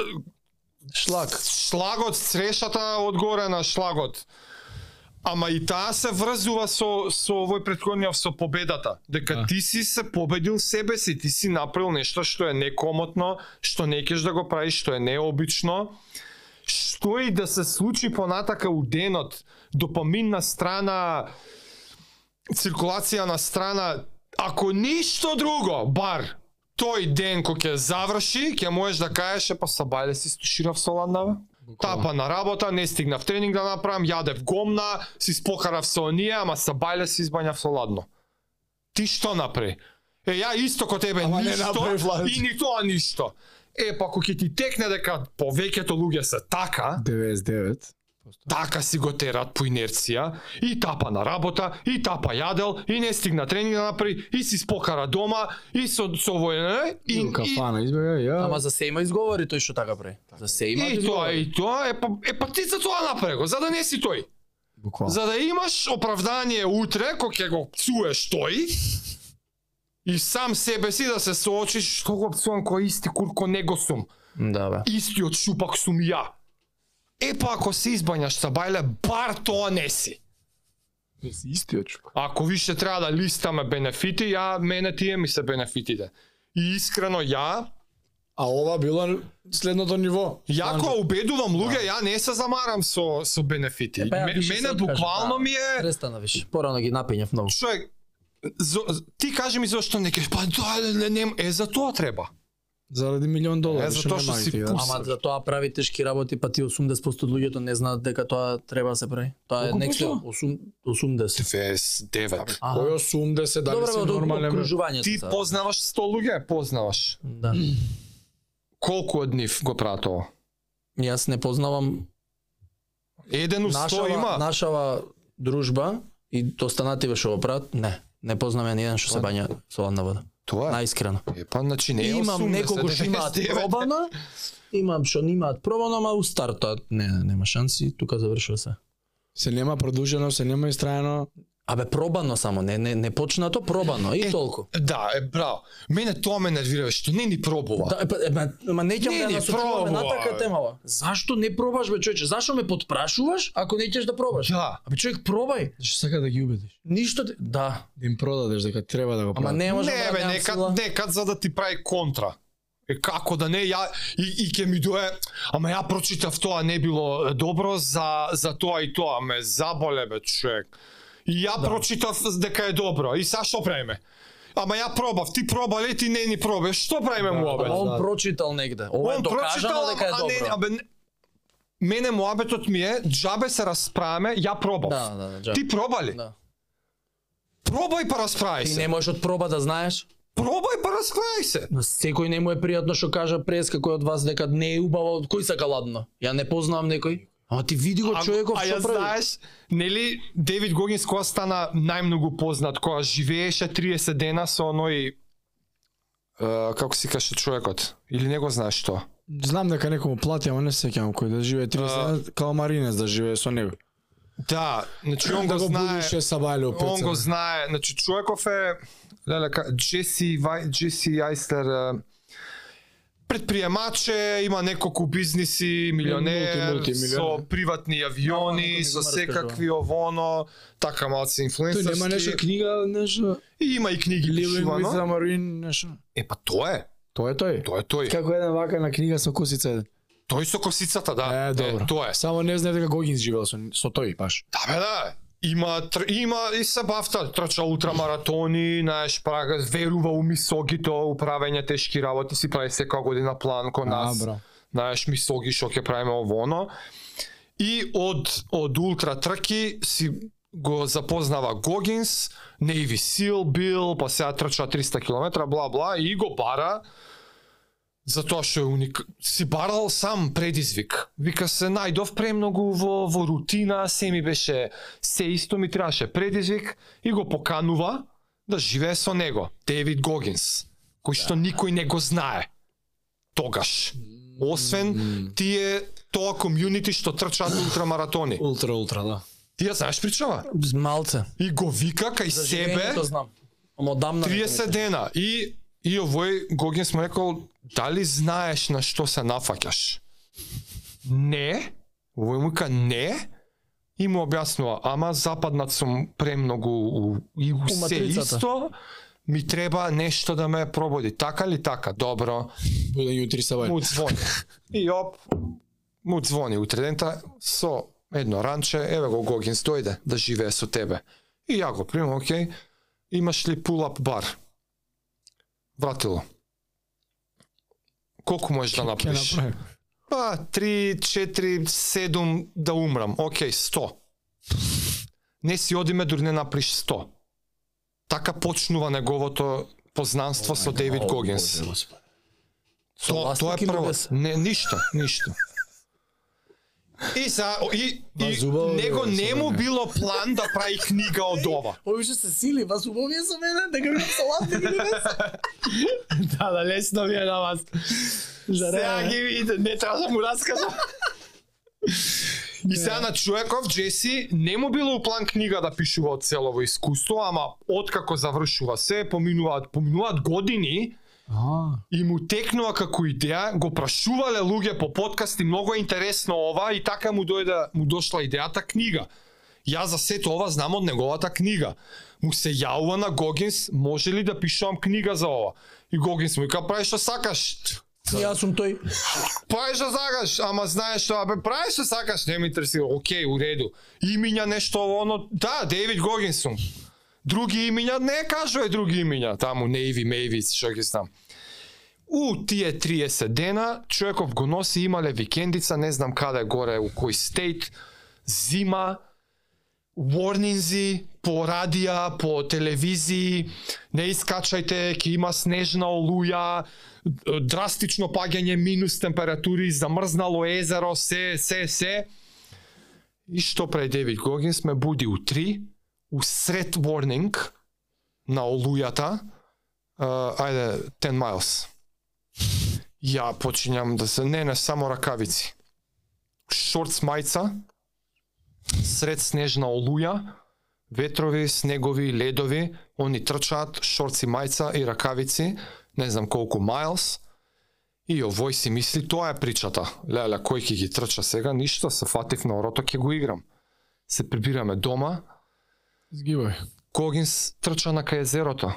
Шлак. шлагот, срешата одгоре на шлагот. Ама и таа се врзува со со овој претходниот со победата, дека Да. ти си се победил себе си, ти си направил нешто што е некомотно, што не кеш да го правиш, што е необично. Што и да се случи понатака у денот, допамин на страна, циркулација на страна, ако ништо друго, бар тој ден кој ќе заврши, ќе можеш да кажеш е па сабајле си стуширав со ладнава. Тапа на работа, не стигнав тренинг да направам, јадев гомна, си спокарав со оние, ама сабајле си избањав со ладно. Ти што направи? Е, ја исто ко тебе Ама не ништо направив ладно. и ни тоа ништо. Е, па ако ќе ти текне дека повеќето луѓе се така, 99. така си го терат по инерција, и тапа на работа, и тапа јадел, и не стигна тренинг да направи, и си спокара дома, и со со војне, и, И, и, кафана, избега, ја. Ама за се има изговори тој што така прави. За се има и тоа, и тоа, е па, е па ти за тоа направи го, за да не си тој. Буквално. За да имаш оправдание утре, кој ќе го псуеш тој, и сам себе си да се соочиш што го псувам кој исти курко него сум. Да, бе. Истиот шупак сум ја. Е па ако се избањаш са бајле, бар тоа не си. Истиот чук. Ако више треба да листаме бенефити, ја мене тие ми се бенефитите. И искрено ја, А ова било следното ниво. ја кога убедувам луѓе, ја не се замарам со со бенефити. Да. Е, па, ја Ме- више се мене откажа, буквално да. ми е Престана виш. Порано ги напињав многу. човек зо, ти кажи ми зошто не ке па тоа не, не е за тоа треба. Заради милион долари. Е, затоа што нема ги си ти, да. пус. Ама за тоа прави тешки работи, па ти 80% од луѓето не знаат дека тоа треба да се прави. Тоа е Колку next level. Осум- 80. 29. Аха. Кој 80 дали Добро, си бе, од нормален? бе? окружувањето. Ти сега. познаваш 100 луѓе, познаваш. Да. Колку од нив го прават ова? Јас не познавам Еден у 100 нашава, има. нашава дружба и останати ве што го прават. Не. Не познам ја ни еден што се бања со ладна вода. Тоа е. Наискрено. Е, па значи не е имам 80, неколку што имаат 99. пробано, имам што не имаат пробано, ама у стартот не, нема шанси, тука завршува се. Се нема продужено, се нема истраено. Абе пробано само, не не не почнато, пробано и Е, толку. Да, е браво. Мене тоа ме нервира што не ни пробува. Да, е, па, е, ма, ма Не, неќам да не, насочуваме на пробуа, така бе. тема. ова. Зашто не пробаш бе човече? Зашто ме подпрашуваш ако неќеш да пробаш? Да. Абе човек пробај. Што сака да ги убедиш? Ништо те... да, Да им продадеш дека треба да го ама прават. не може не, да бе, некад, сила. некад за да ти прави контра. Е, Како да не, ја и, и ќе ми дое, ама ја прочитав тоа не било е, добро за за тоа и тоа, ме заболе бе човек. И ја да. прочитав дека е добро. И сега што правиме? Ама ја пробав, ти проба ле, ти не ни пробе. Што Да, правиме му обе? Он прочитал негде. Ова е Он прочитал, докажано дека е а не, добро. абе, не- мене муабетот ми е, џабе се расправаме, ја пробав. Да, да, да. Ти проба ли? Да. Пробај па расправај Ти се. не можеш од проба да знаеш. Пробај па расправај се. На секој не му е пријатно што кажа преска кој од вас дека не е убаво, кој сака ладно. Ја не познавам некој. Ама ти види го А- човеков а, ја што прави. знаеш, нели Девид Гогинс која стана најмногу познат, која живееше 30 дена со оној е, како си каже човекот или не го знаеш што? Знам дека некому плати, ама не се сеќавам кој да живее 30 дена, каламаринес да живее со него. Да, значи он да го го знае. будише Сабајле у Он пеца. го знае, значи човеков е леле ка- Джеси Вај Джеси Ајслер е, предприемач е, има неколку бизниси, милионер, Мулти- мултимилионер. со приватни Ама, авиони, не со го раскажува. секакви овоно, така Тој малце нема инфлуенсерски. нешто книга, нешто И има и книги Living with пишувано. Samarin, нешто. Е, па тоа е. Тоа е тој. Тоа е тој. Како една вака на книга со косица еден. Тој со косицата, да. Е, добро. тоа е. Само не знае дека Гогинс живеел со, со тој, баш. Да, бе, да. Има, тр... има и се бафта, трча ултрамаратони, знаеш, прага, верува у мисогито, у правење тешки работи, си прави секоја година план кон нас. бро. Знаеш, мисоги што ќе правиме ово оно. И од од ултра трки си го запознава Гогинс, Navy Seal бил, па сега трча 300 км, бла бла и го бара затоа што е уник... си барал сам предизвик. Вика се најдов премногу во, во рутина, се ми беше се исто ми требаше предизвик и го поканува да живее со него, Девид Гогинс, кој што Да. никој не го знае тогаш. Освен тие тоа комјунити што трчаат ултрамаратони. Ултра, ултра, да. Ти ја знаеш причава? Малце. И го вика кај За себе живењето знам. Ама одамна. не знам. 30 дена. И и овој Гогинс му рекол, дали знаеш на што се нафаќаш? Не. Овој му ка не. И му објаснува, ама западнат сум премногу у, и у се матрицата. исто, ми треба нешто да ме прободи. Така ли така? Добро. Буде јутри Сабајле. Му звони. И оп, му звони утре дента со едно ранче, еве го Гогинс дојде да живее со тебе. И ја го примам, окей, имаш ли пулап бар? Вратило. Колку можеш да Ке направиш? направи? Па, 3, 4, 7 да умрам. Океј, 100. Не си одиме дури не направиш 100. Така почнува неговото познанство со Девид Гогинс. Со Тоа тоа е ластик или прво. без? Не, ништо, ништо. И за и, Ма, и зубаво е, него бе, не му сега. било план да прави книга од ова. Овие што се сили, вас убави е со мене, дека ми со ластик или без? Да, да, лесно ми е на вас. Сега ги видите, не треба да му раскажам. И сега на човеков Джеси не му било у план книга да пишува од целово искуство, ама откако завршува се, поминуваат поминуваат години, Аа. и му текнува како идеја, го прашувале луѓе по подкасти, многу е интересно ова и така му дојде му дошла идејата книга. Ја за сето ова знам од неговата книга. Му се јавува на Гогинс, може ли да пишувам книга за ова? И Гогинс му вика, прави што сакаш. Јас сум тој. Прави што сакаш, да ама знаеш што, абе прави што сакаш, не ме интересира. Океј, у реду. Имиња нешто ово, оно, да, Девид Гогинс сум. Други имиња, не кажувај други имиња, таму Нејви, Мејви, што ги знам. У тие 30 дена човеков го носи имале викендица, не знам каде горе у кој стейт, зима, warningsи по радија, по телевизии, не искачајте, ќе има снежна олуја, драстично паѓање минус температури, замрзнало езеро, се, се, се. И што прави Девид Гогинс ме буди у 3, у сред warning на олујата, а, ајде 10 miles. Ја почињам да се не, не само ракавици. Шортс мајца, сред снежна олуја, ветрови, снегови, ледови, они трчаат, шорци мајца и ракавици, не знам колку мајлс. И овој си мисли, тоа е причата. Леле, кој ќе ги трча сега, ништо, се фатив на орото, ќе го играм. Се прибираме дома, Згибај. Когинс трча на кај езерото.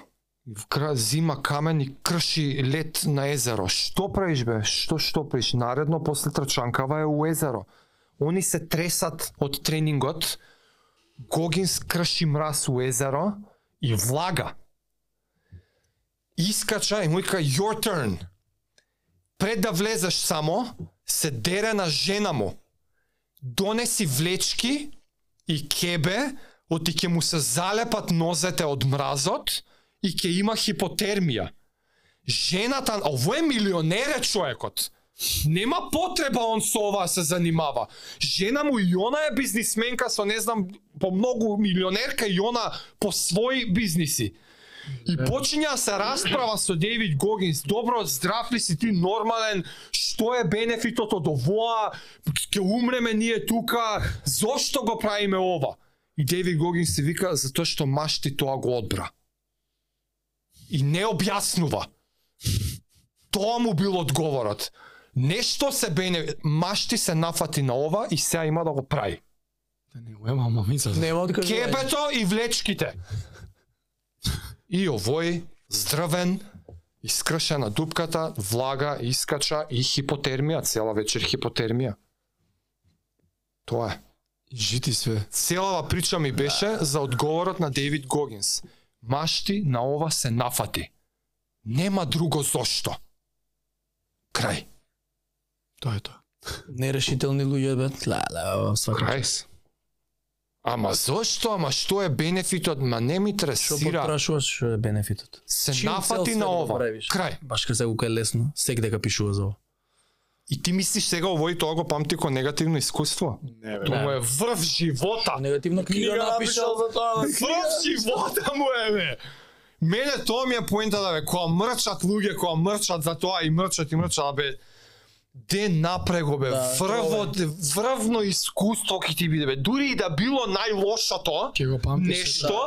Кра- зима камен и крши лед на езеро. Што правиш бе? Што што правиш? Наредно после трчанкава е у езеро. Они се тресат од тренингот. Гогинс крши мраз у езеро и влага. Искача и му вика your turn. Пред да влезеш само, се дере на жена му. Донеси влечки и кебе, оти ќе му се залепат нозете од мразот и ќе има хипотермија. Жената, ово е милионере човекот. Нема потреба он со ова да се занимава. Жена му и она е бизнисменка со не знам по многу милионерка и она по своји бизниси. И почиња се расправа со Дейвид Гогинс. Добро, здрав ли си ти, нормален? Што е бенефитот од овоа? Ке умреме ние тука? Зошто го правиме ова? И Дейвид Гогинс се вика затоа што машти тоа го одбра. И не објаснува. Тоа му бил одговорот. Нешто се бене, машти се нафати на ова и сега има да го прави. Да не го ема, ама да мисла. Нема откажување. Кебето и влечките. И овој здравен, искршена дупката, влага, искача и хипотермија, цела вечер хипотермија. Тоа е. Жити све. Целава прича ми беше Да. за одговорот на Дейвид Гогинс. Машти на ова се нафати. Нема друго зошто. Крај. Тоа е тоа. Нерешителни луѓе, бе. Ла, ла, свака. Крај. Ама зошто, ама што е бенефитот, ма не ми Што тресира. потрашуваш, што е бенефитот? Се Чим цел нафати свет на да го ова. правиш? Крај. Баш ка се кука е лесно, сек дека пишува за ова. И ти мислиш сега овој тоа го памти ко негативно искуство? Не, Тоа му е врв живота. Негативна книга напишал. за тоа. Врв живота му е бе. Мене тоа ми е поента да бе, која мрчат луѓе, која мрчат за тоа и мрчат и мрчат, а бе, де напрего бе, Да, врво, врвно искуство ќе ти биде бе. Дури и да било најлошото, Ќе го памтиш. да, нешто,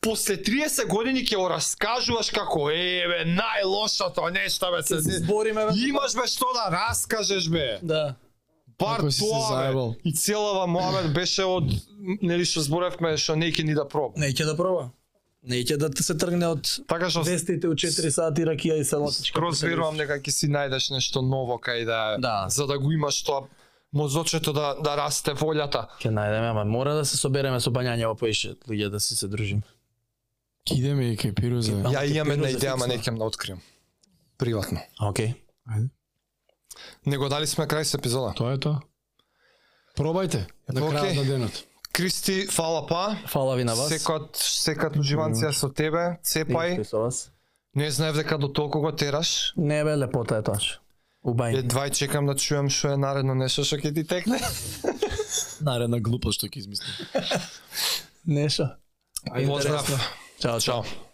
после 30 години ќе го раскажуваш како е бе, најлошото нешто бе, да Се се, збориме, бе. имаш бе што да раскажеш бе. Да. Бар Како си се тоа бе. заебал? И целава Муамед беше од нели што зборевме што не ќе ни да проба. Не ќе да проба. Не ќе да се тргне од Така што вестите у 4 сати ракија и салатичка. скроз верувам дека ќе си најдеш нешто ново кај да е, Да. за да го имаш тоа мозочето да да расте волјата. Ќе најдеме, ама мора да се собереме со бањање опа поише, луѓе да си се дружиме. Идеме и кај Пирузе. Ама Ја ти имам една пироза идеја, ама фиксна. не ќе да откриjem. Приватно. Океј. Ајде. Него дали сме крај со епизода. Тоа е тоа. Пробајте. На Океј. крајот на денот. Кристи, фала па. Фала ви на вас. Секојат секојат уживанција со тебе, Па цепај. со вас. Не знаев дека до толку го тераш. Не бе, лепота е тоа. Убај. Едва и чекам да чуем што е наредно нешто што ќе ти текне. Наредна глупост што ќе измислам. Нешто. Поздрав. Чао, чао. Чао.